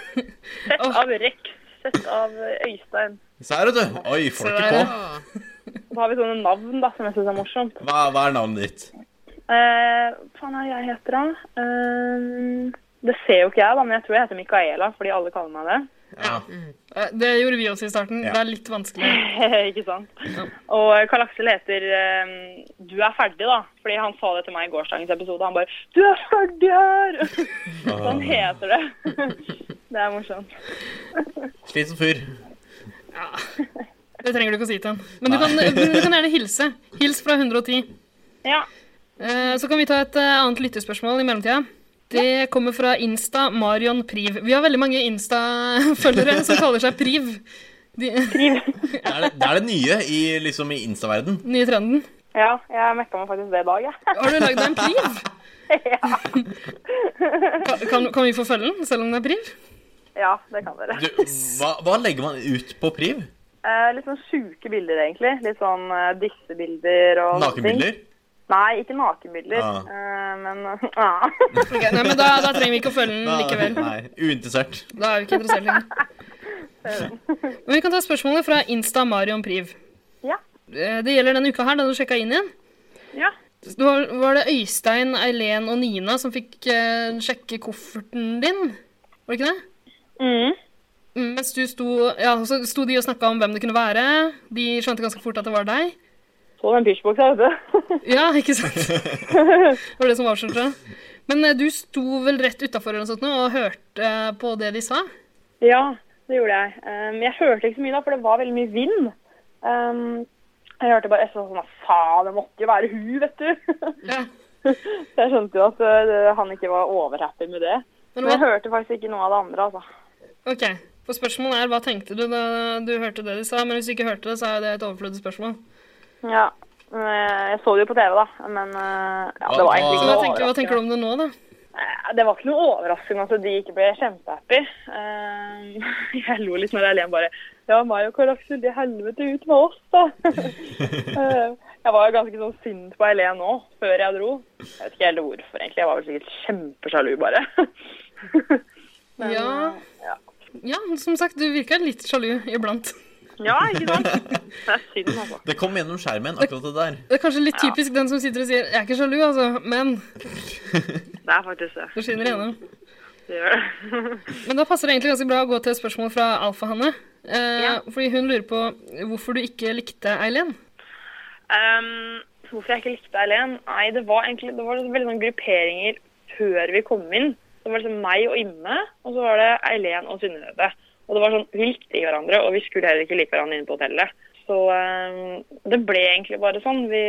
L: Sett av Rex. Sett av Øystein.
B: Ser du, du? Oi, får det
L: Se der,
B: ikke
L: ja.
B: på.
L: Så har vi sånne navn da, som jeg syns er morsomt.
B: Hva, hva er navnet ditt?
L: Eh, Hva faen er jeg heter da? Eh, det ser jo ikke jeg, da, men jeg tror jeg heter Micaela fordi alle kaller meg det.
B: Ja.
A: Eh, Det gjorde vi også i starten. Det er litt vanskelig.
L: (laughs) ikke sant? Og Karl Aksel heter eh, 'Du er ferdig', da. Fordi han sa det til meg i gårsdagens episode. Han bare 'Du er ferdig her!' (laughs) sånn heter det. (laughs) det er morsomt.
B: Slitsom fyr.
A: Det trenger du ikke å si til han. Men du
B: Nei.
A: kan, du kan gjerne hilse. Hils fra 110.
L: Ja. (laughs)
A: Eh, Så kan vi ta et eh, annet lyttespørsmål i mellomtida. Det kommer fra Insta Marion Priv. Vi har veldig mange Insta-følgere som kaller seg Priv. De,
B: Det er det, det, er det nye i, liksom, i Insta-verden.
A: nye trenden.
L: Ja, jeg mekka meg faktisk det i dag, jeg. (laughs)
A: Har du lagd deg en Priv? Ka- Kan, kan vi få følge den, selv om det er Priv?
L: Ja, det kan dere.
B: Du, hva, hva legger man ut på Priv?
L: Eh, litt sånn sjuke bilder, egentlig. Litt sånn eh, dissebilder og sånne ting.
B: Nakenbilder?
L: Nei, ikke nakenbilder.
B: Ah.
L: eh, men (laughs) ja.
A: Ok, nei, men da, da trenger vi ikke å følge den Mm, likevel.
B: Nei, uinteressert.
A: Da er vi ikke interessert lenger. Men vi kan ta spørsmålet fra Insta Marion Priv.
L: Ja.
A: Eh, Det gjelder denne uka her, da du sjekka inn igjen.
L: Ja.
A: Det var, var det Øystein, Eileen og Nina som fikk eh, sjekke kofferten din? Var det ikke det?
L: Mm.
A: Mens du sto, ja, så sto de og snakka om hvem det kunne være. De skjønte ganske fort at det var deg.
L: Så den pysjboksa, vet
A: du. Ja, ikke
L: (laughs)
A: sant? Det var det som avslørte. det. Men eh, du sto vel rett utafor og hørte eh, på det de sa?
L: Mm. Ja, det gjorde jeg. Ehm, jeg hørte ikke så mye da, for det var veldig mye vind. Ehm, jeg hørte bare SV sånn Faen, det måtte jo være hun, vet du. (laughs) så jeg skjønte jo at eh, han ikke var overhappy med det.
A: Men
L: Men jeg
A: hva-
L: hørte faktisk ikke noe av det andre, altså.
A: Ok, for spørsmålet er hva tenkte du da du hørte det de sa? Men hvis du ikke hørte det, så er det et overflødig spørsmål.
L: Ja. Eh, Jeg så det jo på TV, da, men eh, ja, det var egentlig
A: Så
L: ikke
A: hva
L: noe
A: tenker, hva tenker du om det nå, da?
L: Eh, Det var ikke noe overraskende at de ikke ble kjempehappy. Ehm, (laughs) Jeg lo litt når jeg len bare Ja, meg og Karl Aksel, det helvete ut med oss, da. Eh, Jeg var jo ganske sånn sint på Helen nå, før jeg dro. Jeg vet ikke helt hvorfor, egentlig. Jeg var vel sikkert kjempesjalu, bare. (laughs)
A: ja.
L: ja.
A: ja, som sagt, du virker litt sjalu iblant.
L: eh, Ja, ikke sant? Det er synd, altså.
B: Det kom gjennom skjermen, akkurat det der.
A: Det er kanskje litt typisk den som sitter og sier 'jeg er ikke sjalu', altså, men
L: Det er faktisk det.
A: det skinner igjennom.
L: Det gjør det.
A: Men da passer det egentlig ganske bra å gå til et spørsmål fra Alfa-Hanne. Eh, Fordi hun lurer på hvorfor du ikke likte Eileen.
L: Ehm, hvorfor jeg ikke likte Eileen? Nei, det var egentlig det var liksom veldig sånn grupperinger før vi kom inn. Det var liksom meg og Imme, og så var det Eileen og Synnøve. Og det var sånn, Vi likte ikke hverandre, og vi skulle heller ikke like hverandre inne på hotellet. Så ehm, det ble egentlig bare sånn. Vi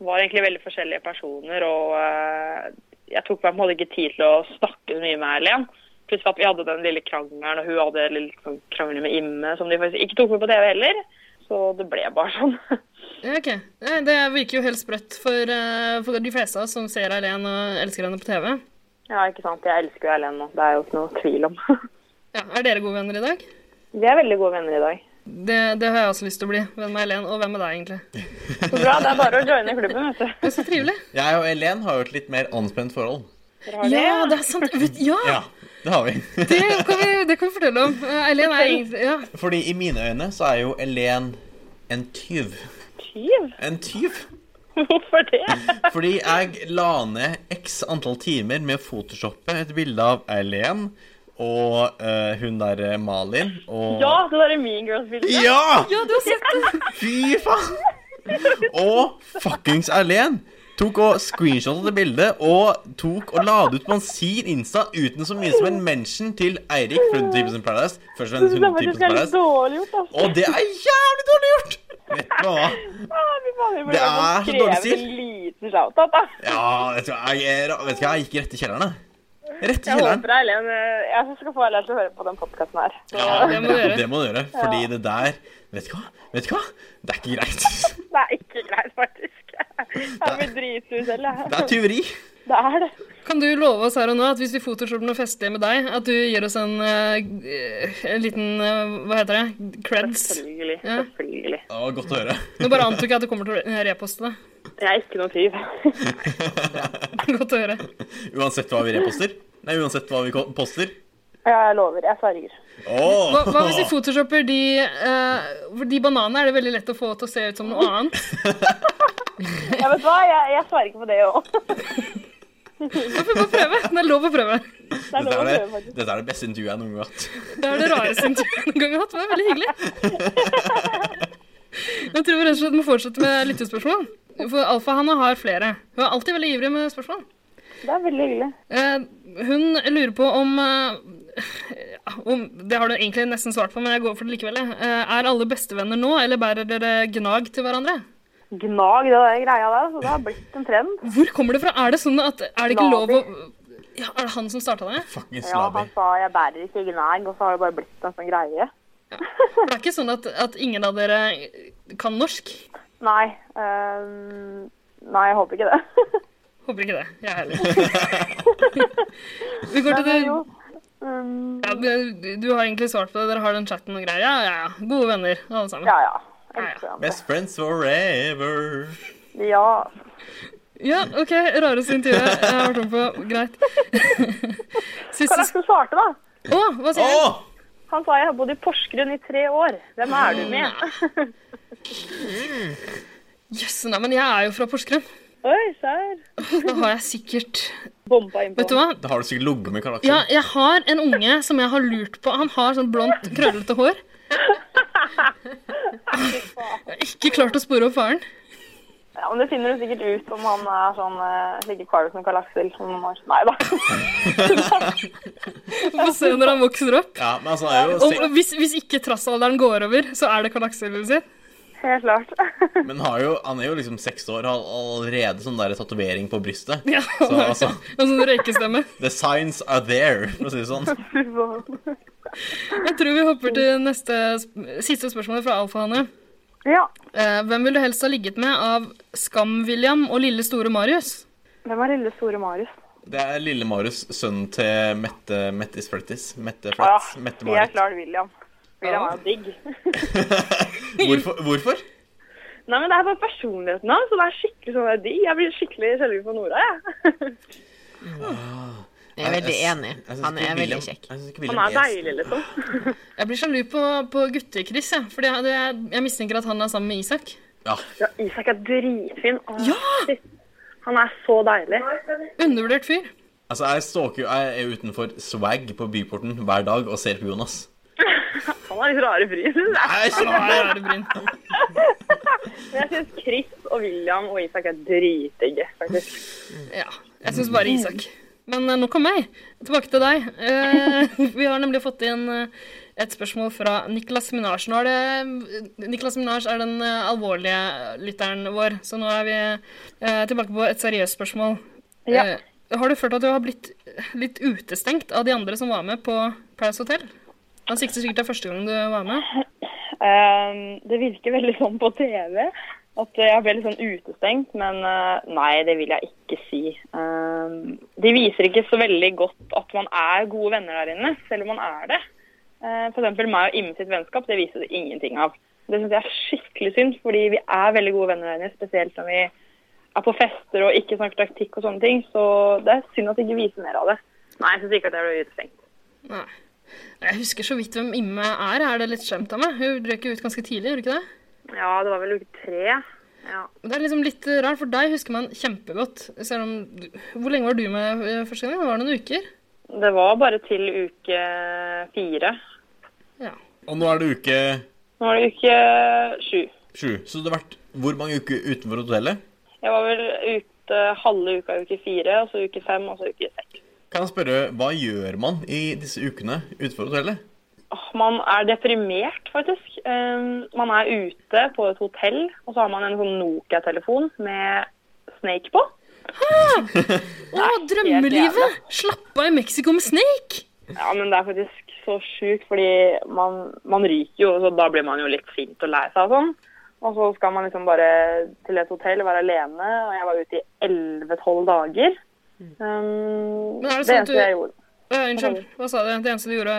L: var egentlig veldig forskjellige personer, og eh, jeg tok meg på en måte ikke tid til å snakke så mye med Eileen. Plutselig at vi hadde den lille krangelen, og hun hadde litt sånn krangler med Imme, som de faktisk ikke tok med på TV heller. Så det ble bare sånn. (laughs)
A: Ja, ok. Eh, Det virker jo helt sprøtt for, eh, for de fleste av oss som ser Eileen og elsker henne på TV.
L: Ja, ikke sant. Jeg elsker jo Erlend nå. Det er jo ikke noe tvil om. (laughs)
A: Ja, er dere gode venner i dag?
L: Vi er veldig gode venner i dag.
A: Det, det har jeg også lyst til å bli. Hvem er Helen, og hvem er deg, egentlig?
L: Så bra, det er bare å joine klubben, vet du.
A: Det er så trivelig.
B: Jeg og Elen har jo et litt mer anspent forhold.
A: Ja, det er sant. Vet- Ja,
B: Ja, det har vi. (laughs)
A: det kan vi, det kan vi fortelle om. Eh, Eileen er egentlig Ja.
B: Fordi i mine øyne så er jo Elen en tyv.
L: Tyv?
B: En tyv?
L: Hvorfor det?
B: Fordi jeg la ned x antall timer med å photoshoppe et bilde av Eileen og eh, hun der eh, Malin og
L: Ja, det derre Mean Girls-bildet.
B: Ja!
A: du har sett det.
B: Fy faen! Og fuckings Erlen tok og screenshotet det bildet og tok og la det ut på sin Insta uten så mye som en mention til Eirik fra 110% Paradise. Først og
L: Jeg
B: fremst
L: synes
B: 110%
L: det faktisk er litt
B: Paradise.
L: dårlig gjort, altså.
B: Og det er jævlig dårlig gjort! Vet du hva?
L: Ah, fy faen, jeg burde
B: Det er
L: ha
B: så dårlig
L: skrevet
B: stil.
L: en liten shout-out, da.
B: Ja, vet du hva, jeg, er- vet du hva, jeg gikk rett i kjelleren, jeg. Rett i
L: Jeg
B: kjelleren.
L: håper Eileen eh, Jeg skal få Eileen til å høre på den podkasten her. Så-
B: Ja, det må du gjøre. Fordi
L: Ja.
B: det der Vet du hva? Vet du hva? Det er ikke greit.
L: Det er ikke greit,
B: (laughs)
L: faktisk. Jeg blir dritsur selv, jeg.
B: Det er tyveri.
L: Det er det.
A: Kan du love oss her og nå at hvis vi photoshopper noe festlig med deg, at du gir oss en, eh, en liten eh, Hva heter det? Creds?
L: Selvfølgelig.
A: Ja.
L: Selvfølgelig.
B: Det var godt å høre.
A: Nå bare antok jeg at du kommer til å reposte det. (laughs)
L: Jeg er ikke noen (laughs) tyv.
A: Godt å høre.
B: Uansett hva vi reposter. Nei, uansett hva vi ko- poster.
L: Jeg lover. Jeg sverger.
B: Åh!
A: Hva, hva hvis vi photoshopper de, eh, for de bananene? Er det veldig lett å få til å se ut som noe annet?
L: Jeg vet hva, jeg, jeg sverger på det òg.
A: Vi får prøve. Det er lov å prøve.
L: (laughs) Det
B: Dette
L: er lov å
B: er
L: prøve,
B: det,
L: faktisk.
B: dette er det beste intervjuet jeg noen gang har hatt.
A: Det er det rareste intervjuet (laughs) noen gang jeg har hatt. Det var veldig hyggelig. Jeg tror vi rett og slett må fortsette med lyttespørsmål. For Alfahanna har flere. Hun er alltid veldig ivrig med spørsmål.
L: Det er veldig hyggelig.
A: Eh, Hun lurer på om, eh, om Det har du egentlig nesten svart på, men jeg går for det likevel. jeg. Eh, Er alle bestevenner nå, eller bærer dere gnag til hverandre?
L: Gnag, det er greia der. Så det har blitt en trend.
A: Hvor kommer det fra? Er det sånn at Er det ikke lov å ja, Er det han som starta det?
B: Fuckings
L: Ja, han
B: slaver.
L: sa jeg bærer ikke gnag, og så har det bare blitt en sånn greie.
A: For det er ikke sånn at, at ingen av dere kan norsk?
L: Nei. ehm, nei, jeg håper ikke det. (laughs)
A: Håper ikke det. Jeg heller. Vi går til det.
L: jo. Um,
A: Ja, du, du har egentlig svart på det. Dere har den chatten og greier. Ja, ja, ja. Gode venner, alle sammen.
L: ja, ja.
A: Ja, ja.
B: Best friends forever.
L: Ja.
A: Ja, OK. Rareste intervjuet jeg har vært med på.
L: (laughs)
A: Greit.
L: Hva
A: Siste
L: er det som svarte, da?
A: Å, hva sier du?
B: Åh!
L: Han sa jeg har bodd i Porsgrunn i tre år. Hvem er du med?
A: Jøss, nei, men jeg er jo fra Porsgrunn.
L: Oi, sær.
A: Da har jeg sikkert
L: Bomba innpå.
A: Vet du hva?
B: Da har du sikkert ligget med Karl Aksel.
A: Ja, jeg har en unge som jeg har lurt på. Han har sånn blondt, krøllete hår. Jeg har ikke klart å spore opp faren.
L: Ja, men Det finner du sikkert ut om han er sånn eh, like kvalm som Karl Aksel. Om noen år. Nei da.
A: Vi får se når han vokser opp.
B: Ja, men altså, det er jo
A: Og
B: sing-
A: hvis, hvis ikke trassalderen går over, så er det Karl Aksel sin.
L: (laughs) Helt klart.
B: men har jo, han er jo liksom seks år og har allerede sånn der tatovering på brystet.
A: Ja,
B: Så
A: (laughs)
B: altså,
A: Og sånn røykestemme.
B: the signs are there, for å si det sånn.
L: Fy faen.
A: Jeg tror vi hopper til neste sp- siste spørsmål fra Alfahanne.
L: (laughs) ja.
A: Eh, hvem ville du helst ha ligget med av Skam-William og lille store Marius?
L: Hvem er lille store Marius?
B: Det er lille Marius, sønnen til Mette Mettis Frettis. Mette
L: Å ja,
B: Frettis. Mette
L: helt
B: Marit.
L: klart William. William er jo digg. (laughs)
B: (laughs) Hvorfor? hvorfor?
L: Nei, men Det er bare personligheten hans. så Det er skikkelig sånn der digg. Jeg blir skikkelig sjalu på Nora. jeg. (laughs)
C: Jeg er veldig
B: Jeg- jeg-
C: enig.
B: jeg synes
C: Han
B: ikke
C: er
B: William-
C: veldig kjekk.
B: Jeg synes ikke
L: Han
B: William
L: er deilig, liksom.
A: Jeg blir sjalu på, på gutte-Chris, jeg. Fordi jeg, det- jeg mistenker at han er sammen med Isak.
B: Ja.
L: Ja, Isak er dritfin. Å, shit. Han er så deilig.
A: Undervurdert fyr.
B: Altså, jeg stalker jo Jeg er utenfor swag på byporten hver dag og ser på Jonas.
L: Han har litt rare fri.
B: Nei, så
A: Ja, jeg er det bryn.
L: Men (laughs) jeg syns Chris og William og Isak er dritdigge, faktisk.
A: Ja, jeg syns bare Isak. Men eh, nok om meg. Tilbake til deg. Eh, (laughs) vi har nemlig fått inn eh, et spørsmål fra Niklas Minaj. Nå er det eh, Niklas Minaj er den eh, alvorlige lytteren vår, så nå er vi eh, tilbake på et seriøst spørsmål.
L: Ja.
A: Eh, har du følt at du har blitt eh, litt utestengt av de andre som var med på Paradise Hotel? Han sikter sikkert til første gang du var med.
L: Ehm, det virker veldig sånn på TV at jeg ble litt sånn utestengt, men eh, nei, det vil jeg ikke si. Ehm, de viser ikke så veldig godt at man er gode venner der inne, selv om man er det. Eh, For eksempel meg og Imme sitt vennskap, det viste det ingenting av. Det syns jeg er skikkelig synd, fordi vi er veldig gode venner der inne, spesielt når vi er på fester og ikke snakker taktikk og sånne ting. Så det er synd at de ikke viser mer av det. Nei, jeg syns ikke at jeg ble utestengt.
A: Nei. Jeg husker så vidt hvem Imme er. Er det litt skjemt av meg? Hun røk jo ut ganske tidlig, gjorde hun ikke det?
L: Ja, det var vel uke tre. Ja.
A: Men Det er liksom litt eh, rart, for deg husker man kjempegodt. Selv om du, Hvor lenge var du med eh, første gang? Det var noen uker?
L: Det var bare til uke fire.
B: Og nå er det uke
L: Nå er det uke sju.
B: sju. Så det har vært hvor mange uker utenfor hotellet?
L: Jeg var vel ute halve uka uke fire, og så uke fem, og så uke seks.
B: Kan jeg spørre, hva gjør man i disse ukene utenfor hotellet?
L: Åh, Man er deprimert, faktisk. Ehm, man er ute på et hotell, og så har man en sånn Nokia-telefon med Snake på.
A: Å, drømmelivet! Slapp av i Mexico med Snake!
L: Ja, men det er faktisk så sjukt, fordi man, man ryker jo, så da blir man jo litt sint og lei seg og sånn. Og så skal man liksom bare til et hotell og være alene, og jeg var ute i 11-12 dager. Ehm,
A: Men er det sånn at
L: eneste
A: du
L: jeg gjorde-
A: Å, Unnskyld, hva sa du? Det eneste du gjorde,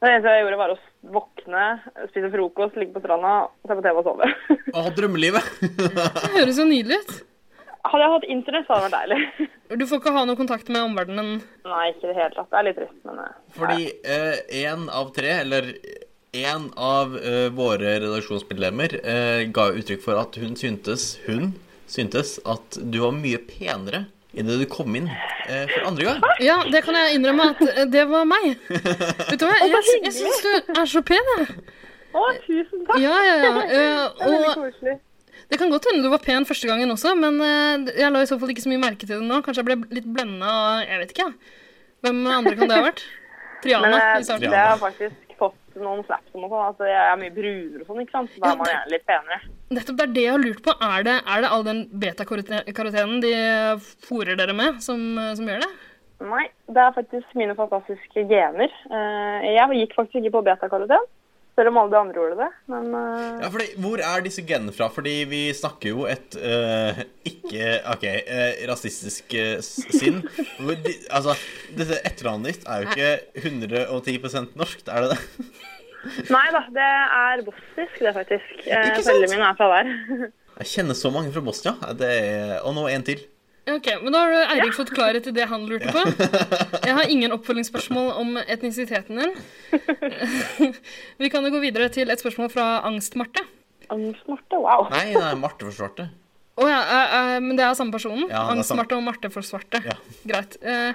A: var
L: det eneste jeg gjorde var å våkne, spise frokost, ligge på stranda, se på TV og sove. (laughs)
B: Å, drømmelivet! (laughs)
A: Det høres så nydelig ut.
L: Hadde jeg hatt internett, så hadde det vært deilig. (laughs)
A: Du får ikke ha noe kontakt med omverdenen?
L: Nei, ikke i det hele tatt. Det er litt trist, men eh,
B: Fordi én av tre, eller én av eh, våre redaksjonsmedlemmer, eh, ga uttrykk for at hun syntes, hun syntes at du var mye penere idet du kom inn eh, for andre gang.
A: Ja, det kan jeg innrømme at eh, det var meg. Vet du
L: (laughs)
A: hva,
L: Å, så
A: jeg, jeg,
L: hyggelig.
A: syns du er så pen, jeg.
L: Å, tusen takk.
A: Ja, ja, ja.
L: (laughs) Det er
A: Eh,
L: veldig
A: og
L: koselig.
A: det kan godt hende du var pen første gangen også, men eh, jeg la i så fall ikke så mye merke til det nå. Kanskje jeg ble litt blenda av Jeg vet ikke, jeg. Hvem andre kan det ha
L: (laughs)
A: vært? Triana
L: Men
A: i
L: eh,
A: starten.
L: det har jeg faktisk fått noen snaps om og sånn. Altså, jeg er mye brunere og sånn, ikke sant? Så da er man gjerne litt penere.
A: Nettopp det er det jeg har lurt på. Er det, er det all den beta-karotenen de fôrer dere med, som, som gjør det?
L: Nei, det er faktisk mine fantastiske gener. Eh, Jeg gikk faktisk ikke på betakaroten, selv om alle de andre gjorde det. Men eh,
B: Ja, fordi, hvor er disse genene fra? Fordi vi snakker jo et eh, ikke OK, eh, rasistisk eh, s- sinn. Hvor de, altså, dette etternavnet ditt er jo ikke 110 norsk, er det det?
L: nei da, det er bosnisk, det faktisk. Eh,
B: Ikke sant?
L: Foreldrene mine er fra der. (laughs)
B: Jeg kjenner så mange fra Bosnia. Det er, og nå en til.
A: Ok, men Da har du Eirik fått klarhet i det han lurte på. Jeg har ingen oppfølgingsspørsmål om etnisiteten din. (laughs) Vi kan jo gå videre til et spørsmål fra Angst-Marte.
L: Angst-Marte? Wow.
B: Nei, det er Marte for svarte.
A: Å ja, eh, eh, men det er samme personen?
B: Ja, det er samme.
A: Angst-Marte og Marte for svarte. Greit. Eh,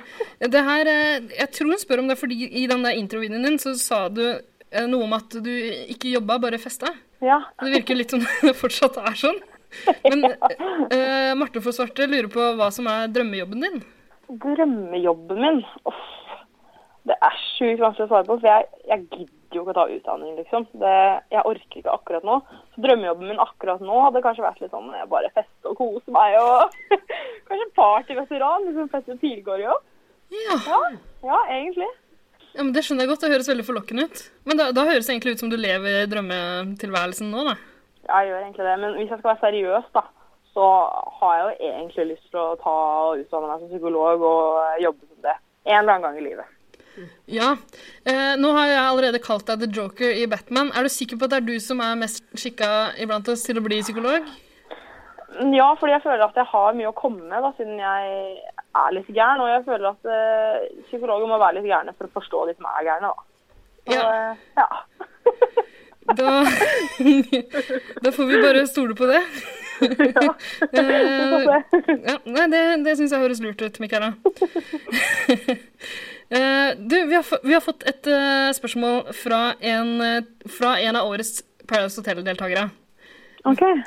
A: det her, eh, jeg tror hun spør om det, fordi i den der introvideoen din så sa du eh, noe om at du ikke jobba, bare festa.
L: Ja.
A: Det virker litt som (laughs) det fortsatt er sånn. Men eh, Marte for svarte lurer på hva som er drømmejobben din.
L: Drømmejobben min? Uff. Det er sjukt vanskelig å svare på, for jeg, jeg gidder jo ikke å ta utdanning, liksom. Det, jeg orker ikke akkurat nå. Så drømmejobben min akkurat nå hadde kanskje vært litt sånn eh, bare feste og kose meg og (laughs) Kanskje partyveteran, liksom feste tidligere jobb.
A: Ja.
L: ja. Ja, egentlig.
A: Ja, men Det skjønner jeg godt. Det høres veldig forlokkende ut. Men da, da høres det egentlig ut som du lever drømmetilværelsen nå, da.
L: Ja, jeg gjør egentlig det. Men hvis jeg skal være seriøs, da, så har jeg jo egentlig lyst til å ta og utdanne meg som psykolog og eh, jobbe som det. En eller annen gang i livet.
A: Ja. Eh, nå har jeg allerede kalt deg The Joker i Batman. Er du sikker på at det er du som er mest skikka iblant oss til å bli psykolog?
L: Ja, fordi jeg føler at jeg har mye å komme med, da, siden jeg er litt gæren. Og jeg føler at eh, psykologer må være litt gærne for å forstå de som er gærne, da. Så, eh, ja. (laughs)
A: Da, (laughs) da får vi bare stole på det. Eh, ja, nei, det det syns jeg høres lurt ut, Michaela. Eh, du, vi har, få- vi har fått et eh, spørsmål fra en, eh, fra en av årets Paradise Hotel-deltakere.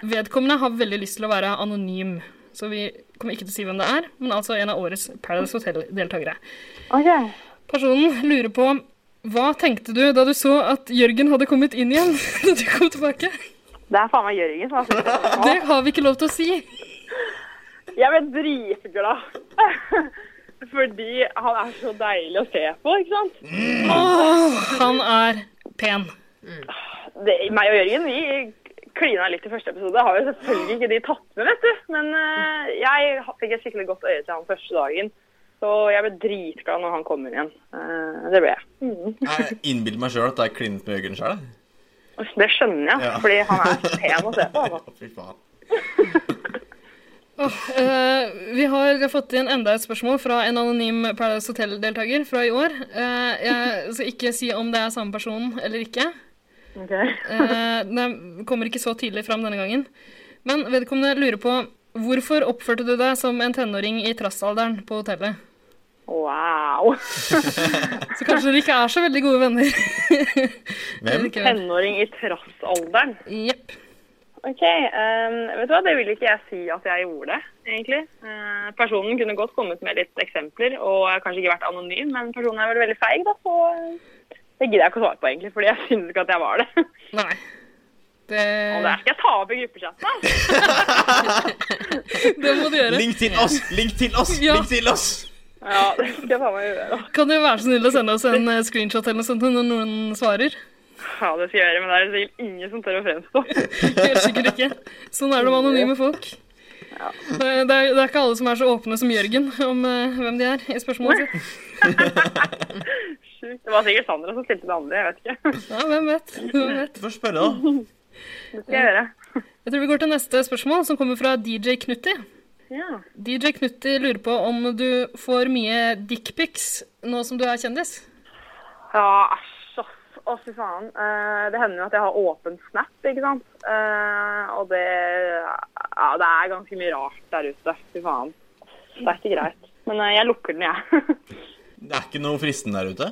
A: Vedkommende har veldig lyst til å være anonym, så vi kommer ikke til å si hvem det er, men altså en av årets Paradise Hotel-deltakere. Personen lurer på hva tenkte du da du så at Jørgen hadde kommet inn igjen? (laughs) da du kom tilbake?
L: Det er faen meg Jørgen som har funnet på det.
A: Det har vi ikke lov til å si.
L: Jeg ble dritglad. (laughs) Fordi han er så deilig å se på, ikke sant?
A: Åh, han er pen.
L: Det, meg og Jørgen vi klina litt i første episode. Har jo selvfølgelig ikke de tatt med, vet du. Men eh, jeg ha- fikk et skikkelig godt øye til han første dagen. Så jeg ble dritglad når han kom inn igjen. Eh, Det ble jeg. Mm.
B: Jeg innbiller meg sjøl at det er klint med Jørgen sjøl.
L: Det skjønner jeg,
B: Ja.
L: fordi han er så pen å se på.
B: (laughs)
L: Altså.
B: Fy faen.
A: Åh, eh, vi har fått inn enda et spørsmål fra en anonym Paradise Hotel-deltaker fra i år. Eh, jeg skal ikke si om det er samme person eller ikke. Eh, det kommer ikke så tydelig fram denne gangen. Men vedkommende lurer på hvorfor oppførte du deg som en tenåring i trassalderen på hotellet?
L: Wow!
A: Så kanskje dere ikke er så veldig gode venner.
L: En Tenåring i trassalderen.
A: Jepp.
L: Ok, eh, vet du hva, det vil ikke jeg si at jeg gjorde det, egentlig. Eh, personen kunne godt kommet med litt eksempler, og jeg har kanskje ikke vært anonym, men personen er vel veldig feig, da, så eh, det gidder jeg ikke å svare på, egentlig, fordi jeg synes ikke at jeg var det. (laughs)
A: Nei. Det...
L: Og der skal jeg ta opp i gruppechatten.
A: Det må du gjøre.
B: Link til oss! Link til oss!
A: Ja.
B: Link til oss!
L: Ja, det skal jeg faen meg gjøre.
A: Kan du være så snill å sende oss en eh, screenshot eller noe sånt når noen svarer? (laughs)
L: Ja, det skal jeg gjøre, men det er sikkert ingen som tør å fremstå. (laughs)
A: Helt sikkert ikke. Sånn er det med anonyme folk. Det, er- det, er, det er ikke alle som er så åpne som Jørgen om eh, hvem de er i spørsmålet sitt.
L: Sjukt. Det var sikkert Sandra som stilte det andre, jeg vet ikke.
A: Ja, hvem vet? Hvem vet?
B: Får spørre, da.
L: Det skal jeg gjøre.
A: Jeg tror vi går til neste spørsmål, som kommer fra DJ Knutti.
L: Ja.
A: DJ Knutti lurer på om du får mye dickpics nå som du er kjendis?
L: Ja, æsj, ass. Å, fy faen. Eh, det hender jo at jeg har åpen snap, ikke sant. Eh, og det Ja, det er ganske mye rart der ute. Fy faen. Det er ikke greit. Men eh, jeg lukker den, jeg. (laughs)
B: Det er ikke noe fristende der ute?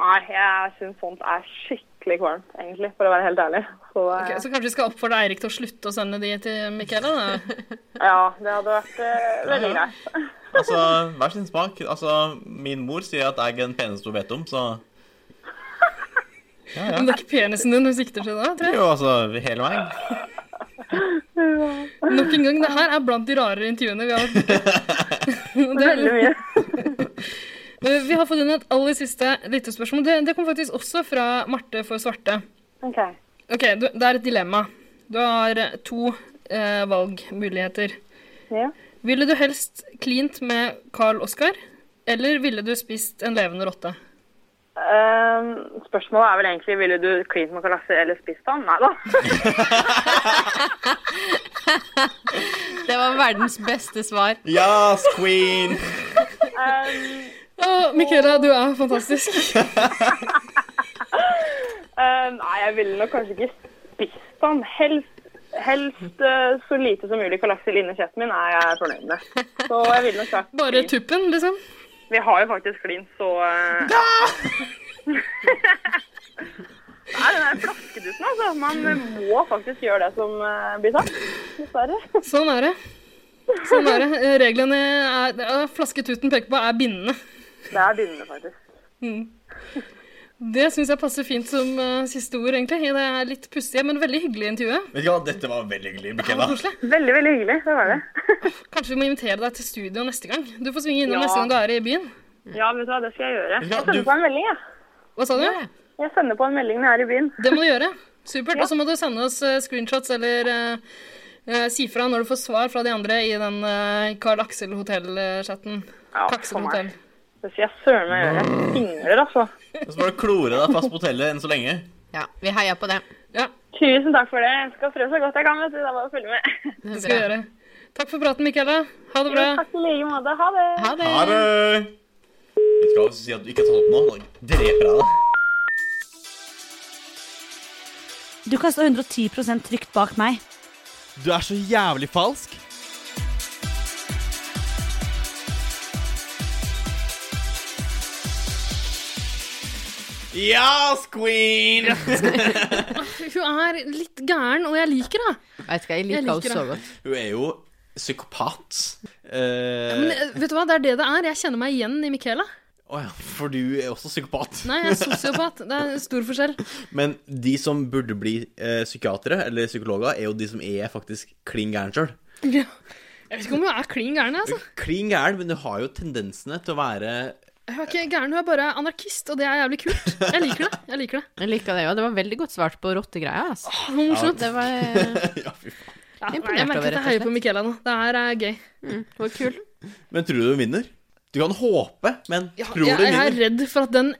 L: Nei, jeg syns sånt er skikkelig kvalmt, egentlig, for å være helt ærlig. Så, eh,
A: Ok, så kanskje vi skal oppfordre Eirik til å slutte å sende de til Michaela? da?
L: ja, det hadde vært eh, veldig
B: Ja, ja.
L: greit.
B: Altså, hver sin smak. Altså, min mor sier at jeg er den peneste hun vet om, så Ja, ja.
A: Men det er ikke penisen din hun sikter til da,
B: Det
A: tror
B: er
A: jeg.
B: jo altså hele veien.
A: Nok en gang, det her er blant de rarere intervjuene vi har vært Veldig
L: mye.
A: Eh, Vi har fått inn et aller siste lyttespørsmål. Det, det kom faktisk også fra Marte for svarte.
L: OK.
A: Ok, du, Det er et dilemma. Du har eh, to eh, valgmuligheter.
L: Ja.
A: Ville du helst klint med Carl Oskar, eller ville du spist en levende rotte?
L: Ehm, spørsmålet er vel egentlig ville du klint med kalasse eller spist han? Nei da.
C: Det var verdens beste svar.
B: Yes, queen!
L: Eh,
A: Å, Michaela, du er fantastisk.
L: Ehm, nei, jeg ville nok kanskje ikke spist han. Helst, helst eh, så lite som mulig kalassel inni kjeften min er jeg fornøyd med. Så jeg ville nok sagt
A: Bare tuppen, liksom.
L: Vi har jo faktisk klint, så eh, (laughs) Nei, den der flaskedusen, altså. Man må faktisk gjøre det som eh, blir sagt. Dessverre.
A: Sånn er det. Sånn er det. Eh, Reglene er, ja, flasketuten peker på er bindende.
L: Det er bindende, faktisk.
A: Mm. Det syns jeg passer fint som eh, siste ord, egentlig. i Det er litt pussige, men veldig hyggelige intervjuet.
B: Vet du hva, dette var veldig hyggelig,
A: Det var
B: Michaela.
A: koselig.
L: Veldig, veldig hyggelig. Det var det. (laughs)
A: Kanskje vi må invitere deg til studio neste gang. Du får svinge innom
L: Ja.
A: neste gang du er i byen.
L: Ja, vet du hva, det skal jeg gjøre.
A: Ja,
L: Jeg sender
A: du-
L: på en melding, jeg.
A: Hva sa du?
L: Jeg sender på en melding når jeg er i byen.
A: Det må du gjøre. Supert.
L: Ja.
A: Og så må du sende oss eh, screenshots eller eh, eh, si fra når du får svar fra de andre i den eh, Carl Axel Hotell-chatten.
L: Ja,
A: Kaksel
L: for meg.
A: Hotell.
L: Det skal jeg søren meg gjøre. Jeg Fingrer, altså.
B: Så bare klore deg fast på hotellet enn så lenge.
C: Ja, vi heier på det.
L: Tusen takk for det. Jeg skal prøve så godt jeg kan, vet du. Det er bare å følge med.
A: Det skal vi gjøre. Takk for praten, Michaela. Ha det
L: Jo,
A: bra.
L: takk i like måte. Ha det.
B: Ha det! Jeg skal også si at du ikke har tatt opp nå. Da dreper jeg deg.
M: Du kan stå 110 trygt bak meg.
B: Du er så jævlig falsk. Yes, queen!
A: Hun er litt gæren, og jeg liker det.
C: Vet ikke, jeg liker
A: Jeg
C: henne
A: liker
C: så
A: det.
C: godt.
B: Hun er jo psykopat. Eh,
A: Men eh, vet du hva, det er det det er. Jeg kjenner meg igjen i Michaela.
B: Å ja, for du er også psykopat.
A: Nei, jeg er sosiopat. Det er en stor forskjell.
B: Men de som burde bli eh, psykiatere eller psykologer, er jo de som er faktisk klin gæren sjøl.
A: Ja. Jeg vet ikke om hun er klin gæren, jeg, altså.
B: Klin gæren, men du har jo tendensene til å være (laughs)
A: Hun er ikke gæren, hun er bare anarkist, og det er jævlig kult. Jeg liker det. jeg liker Det
C: Jeg liker det jo. Det var veldig godt svart på rottegreia. Altså.
A: det var morsomt.
C: Det var eh,
A: Ja, nei,
C: Imponert
A: jeg merker at
C: over,
A: jeg
C: rett og
A: heier på Michaela nå. Det her er gøy.
C: det var kul.
B: Men tror du hun vinner? Du kan håpe, men tror
A: Jeg,
B: det
A: jeg er
B: vinner.
A: redd for at den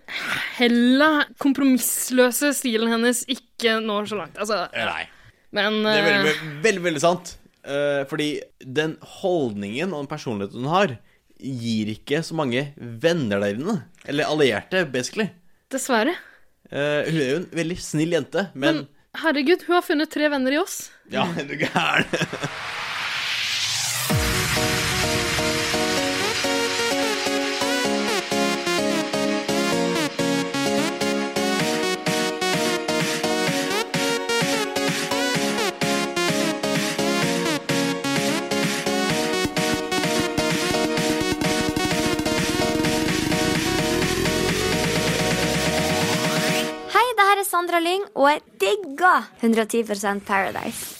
A: hella, kompromissløse stilen hennes ikke når så langt. Altså,
B: Nei.
A: men
B: Det er veldig,
A: eh,
B: veldig, veldig, veldig sant. Eh, fordi den holdningen og den personligheten hun har, gir ikke så mange venner der inne. Eller allierte, basically.
A: dessverre.
B: Eh, hun er jo en veldig snill jente, men,
A: Men herregud, hun har funnet tre venner i oss.
B: (laughs) Ja, er du gæren?
N: Hei, det her er Sandra Lyng, og jeg digger 110 Paradise.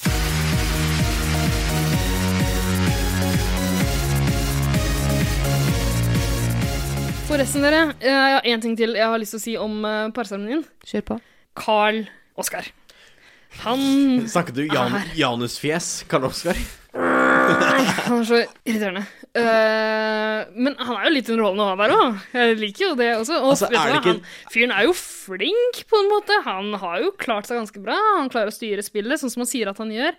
A: Forresten, dere, eh, jeg har én ting til jeg har lyst til å si om eh, parseremonien.
C: Kjør på.
A: Carl Oskar. Han
B: Snakket du Jan
A: Ah.
B: Janusfjes, Karl Oskar?
A: Han er så irriterende. Eh, men han er jo litt underholdende å ha der òg. Jeg liker jo det også. Og
B: Altså,
A: vet
B: er
A: du hva?
B: det ikke-
A: han, fyren er jo flink, på en måte. Han har jo klart seg ganske bra. Han klarer å styre spillet, sånn som han sier at han gjør.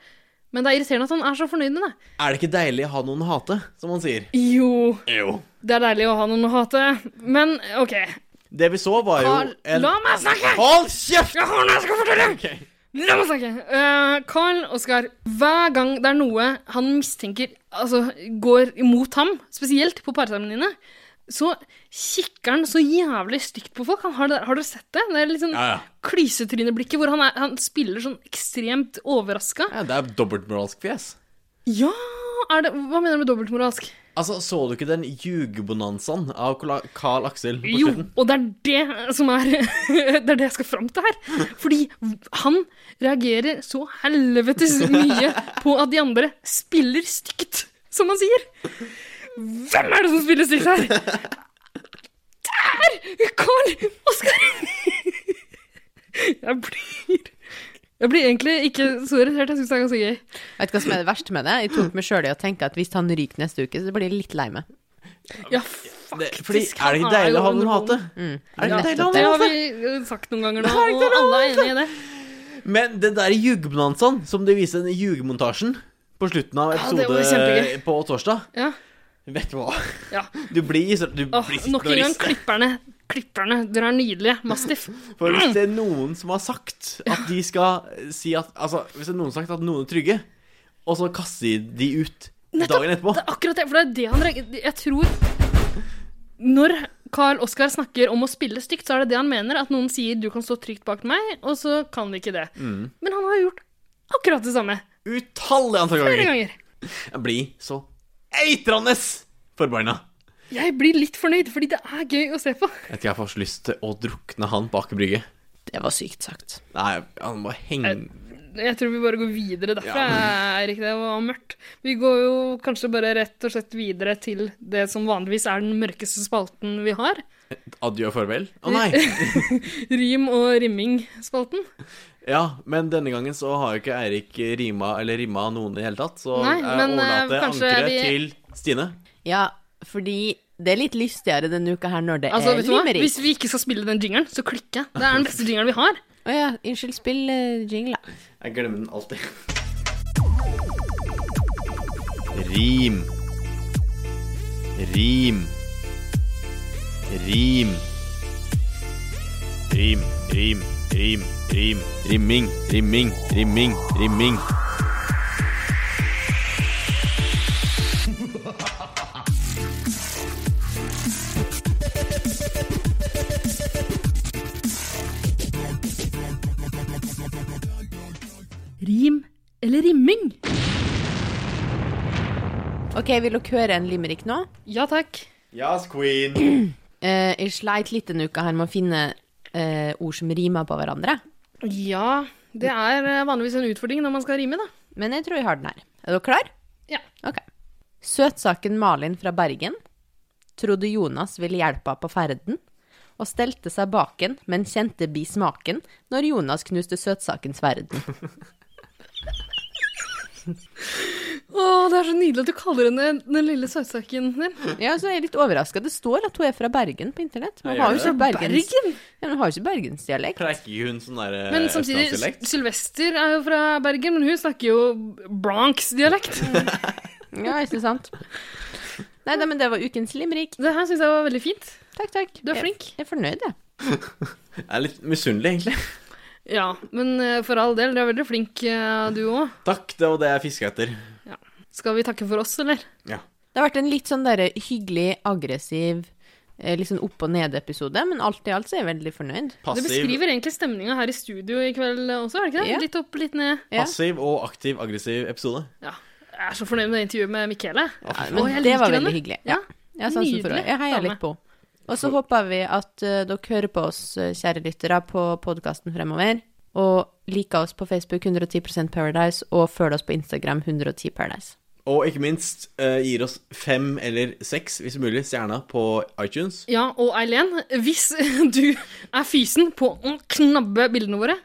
A: Men det er irriterende at han er så fornøyd med det.
B: Er det ikke deilig å ha noen å hate, som han sier?
A: Jo,
B: Jo.
A: det er deilig å ha noen å hate. Men OK.
B: Det vi så, var jo
A: Carl,
B: en
A: la meg snakke!
B: Hold kjeft!
A: Jeg har noe jeg skal fortelle!
B: Ok.
A: La meg snakke! Eh, Carl Oskar, hver gang det er noe han mistenker altså, går imot ham, spesielt på parseremoniene, så kikker han så jævlig stygt på folk. Han har, det der, har dere sett det? Det er litt sånn
B: Ja, ja.
A: klysetryneblikket hvor han, er, han spiller sånn ekstremt overraska.
B: Ja, det er dobbeltmoralsk fjes.
A: Ja! Er det, hva mener du med dobbeltmoralsk?
B: Altså, så du ikke den ljugebonanzaen av Kola- Carl Aksel på
A: Jo,
B: slutten?
A: og det er det som er (laughs) Det er det jeg skal fram til her. Fordi han reagerer så helvetes mye på at de andre spiller stygt, som han sier. Hvem er det som spiller stygt her? Der! Carl Oskar! Jeg blir Jeg blir egentlig ikke så irritert. Jeg syns det er ganske gøy.
C: Vet du hva som er det verste med det? Jeg tok meg sjøl i å tenke at hvis han ryker neste uke, så blir jeg litt lei meg.
B: Det, fordi, er det ikke deilig å ha noen å hate?
C: Mm.
B: Er det
A: Ja,
B: ikke deilig å
A: det
B: ha
A: har
B: noen å
A: vi
B: hate?
A: eh, sagt noen ganger
B: Det
A: nå,
B: er ikke
A: og
B: det
A: alle er enig i det.
B: Men den der ljugebonanzaen som de viser i ljugemontasjen på slutten av
A: Ja, det
B: episode
A: var kjempegøy.
B: på torsdag
A: Ja.
B: Vet du hva?
A: Ja.
B: Du blir så du
A: Åh,
B: blir sittende
A: nok
B: og
A: en gang
B: riste.
A: klipperne. Klipperne, dere er nydelige. Mastiff.
B: For hvis det er noen som har sagt at de skal si at Altså, hvis det er noen som har sagt at noen er trygge, og så kaster de de ut dagen etterpå
A: Akkurat det, for det er det han reagerer Jeg tror Når Carl Oskar snakker om å spille stygt, så er det det han mener. At noen sier 'du kan stå trygt bak meg', og så kan vi ikke det.
B: Mm.
A: Men han har gjort akkurat det samme.
B: Utallige antall
A: Flere
B: ganger.
A: ganger.
B: Jeg blir så eitrende forbanna.
A: Jeg blir litt fornøyd, fordi det er gøy å se på.
B: Jeg tror jeg får så lyst til å drukne han på Aker Brygge.
C: Det var sykt sagt.
B: Nei, han må henge
A: Jeg tror vi bare går videre derfra,
B: Ja.
A: Erik. Det var mørkt. Vi går jo kanskje bare rett og slett videre til det som vanligvis er den mørkeste spalten vi har.
B: Adjø og farvel. Å
A: (laughs)
B: nei!
A: Rim og rimming-spalten.
B: Ja, men denne gangen så har jo ikke Eirik rima eller rimma noen i det hele tatt, så
A: Nei,
B: jeg
A: men, eh,
B: overlater
A: kanskje
B: ankeret
A: vi-
B: til Stine.
C: Ja, fordi det er litt lystigere denne uka her når det
A: Altså,
C: er
A: vet du hva?
C: limerick.
A: Hvis vi ikke skal spille den jingeren, så klikker jeg. Det er den beste jingeren vi har.
C: Å ja, unnskyld, spill eh, jingle, da.
B: Jeg glemmer den alltid. Rim. Rim. Rim. Rim, rim, rim, rim. Rimming, rimming, rimming, rimming.
A: Rim eller rimming?
C: OK, vil dere høre en limerick nå?
A: Ja takk.
B: Yes, queen.
C: Eh, jeg sleit litt denne uka her med å finne eh, ord som rimer på hverandre.
A: Ja, det er eh, vanligvis en utfordring når man skal rime, da.
C: Men jeg tror jeg har den her. Er dere klar?
A: Ja.
C: Ok. Søtsaken Malin fra Bergen trodde Jonas ville hjelpe henne på ferden, og stelte seg baken, men kjente bismaken når
A: (laughs)
C: Jonas knuste søtsakens verden.
A: Å, det er så nydelig at du kaller henne den lille søtsaken din.
C: Ja, så er jeg litt overraska. Det står at hun er fra Bergen på internett. Men
B: Ja,
C: hun har jo
B: gjør
C: ikke
B: det?
C: Bergens... Ja, men hun har jo ikke bergensdialekt.
B: Pleier ikke hun sånn der
A: Men samtidig,
B: østlandsdialekt?
A: Sy- Sylvester er jo fra Bergen, men hun snakker jo Bronx-dialekt.
C: Ja, ikke sant. Nei da, men det var ukens limrik.
A: Det her syns jeg var veldig fint.
C: Takk, takk.
A: Du er flink.
C: Jeg, jeg er fornøyd, jeg.
B: Jeg er litt misunnelig, egentlig.
A: Ja, men eh, for all del, du er veldig flink, eh, du òg.
B: Takk, det var det jeg fiska etter.
A: Skal vi takke for oss, eller?
B: Ja.
C: Det har vært en litt sånn derre hyggelig, aggressiv, eh, litt sånn opp og ned-episode, men alt i alt så er jeg veldig fornøyd.
A: Det beskriver egentlig stemninga her i studio i kveld også, er det ikke det?
C: Ja.
A: Litt opp, litt ned.
B: Passiv og aktiv aggressiv episode.
A: Ja. Jeg er så fornøyd med det intervjuet med Michele.
B: Ja,
C: men
A: Å, jeg
C: det
A: liker
C: var
A: henne.
C: veldig hyggelig. Ja. Jeg, har sansen for
A: Nydelig
C: det. jeg heier
A: dame.
C: litt på henne. Og så håper vi at eh, dere hører på oss, eh, kjære lyttere, på podkasten fremover. Og liker oss på Facebook 110 Paradise, og følg oss på Instagram 110 Paradise.
B: Og ikke minst eh, gir oss fem eller seks, hvis mulig, stjerner på iTunes.
A: Ja, og Eileen, hvis (laughs) du er fysen på å knabbe bildene våre,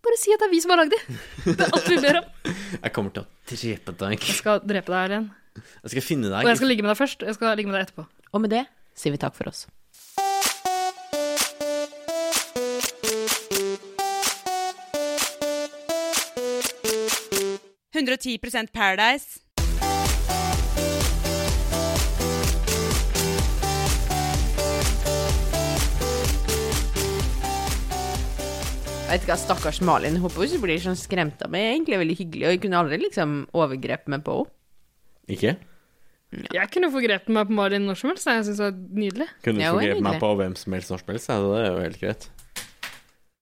A: bare si at det er vi som har lagd de. Det er alt vi (laughs) ber om.
B: Jeg kommer til å drepe deg.
A: Jeg skal drepe deg, Eileen.
B: Jeg skal finne
A: Og
B: deg.
A: jeg skal ligge med deg først. Jeg skal ligge med deg etterpå.
C: Og med det sier vi takk for oss.
D: Paradise. 110 Paradise.
C: Jeg vet ikke, hva, Stakkars Malin. Jeg håper hun ikke blir sånn skremt av meg. Jeg er egentlig veldig hyggelig, og jeg kunne aldri liksom overgrepet meg på henne.
B: Ikke?
A: Jeg kunne forgrepet meg på Malin når som helst. Jeg syns det er nydelig.
B: Kunne du forgrepet meg på hvem som helst når som helst? Ja, det er jo helt greit.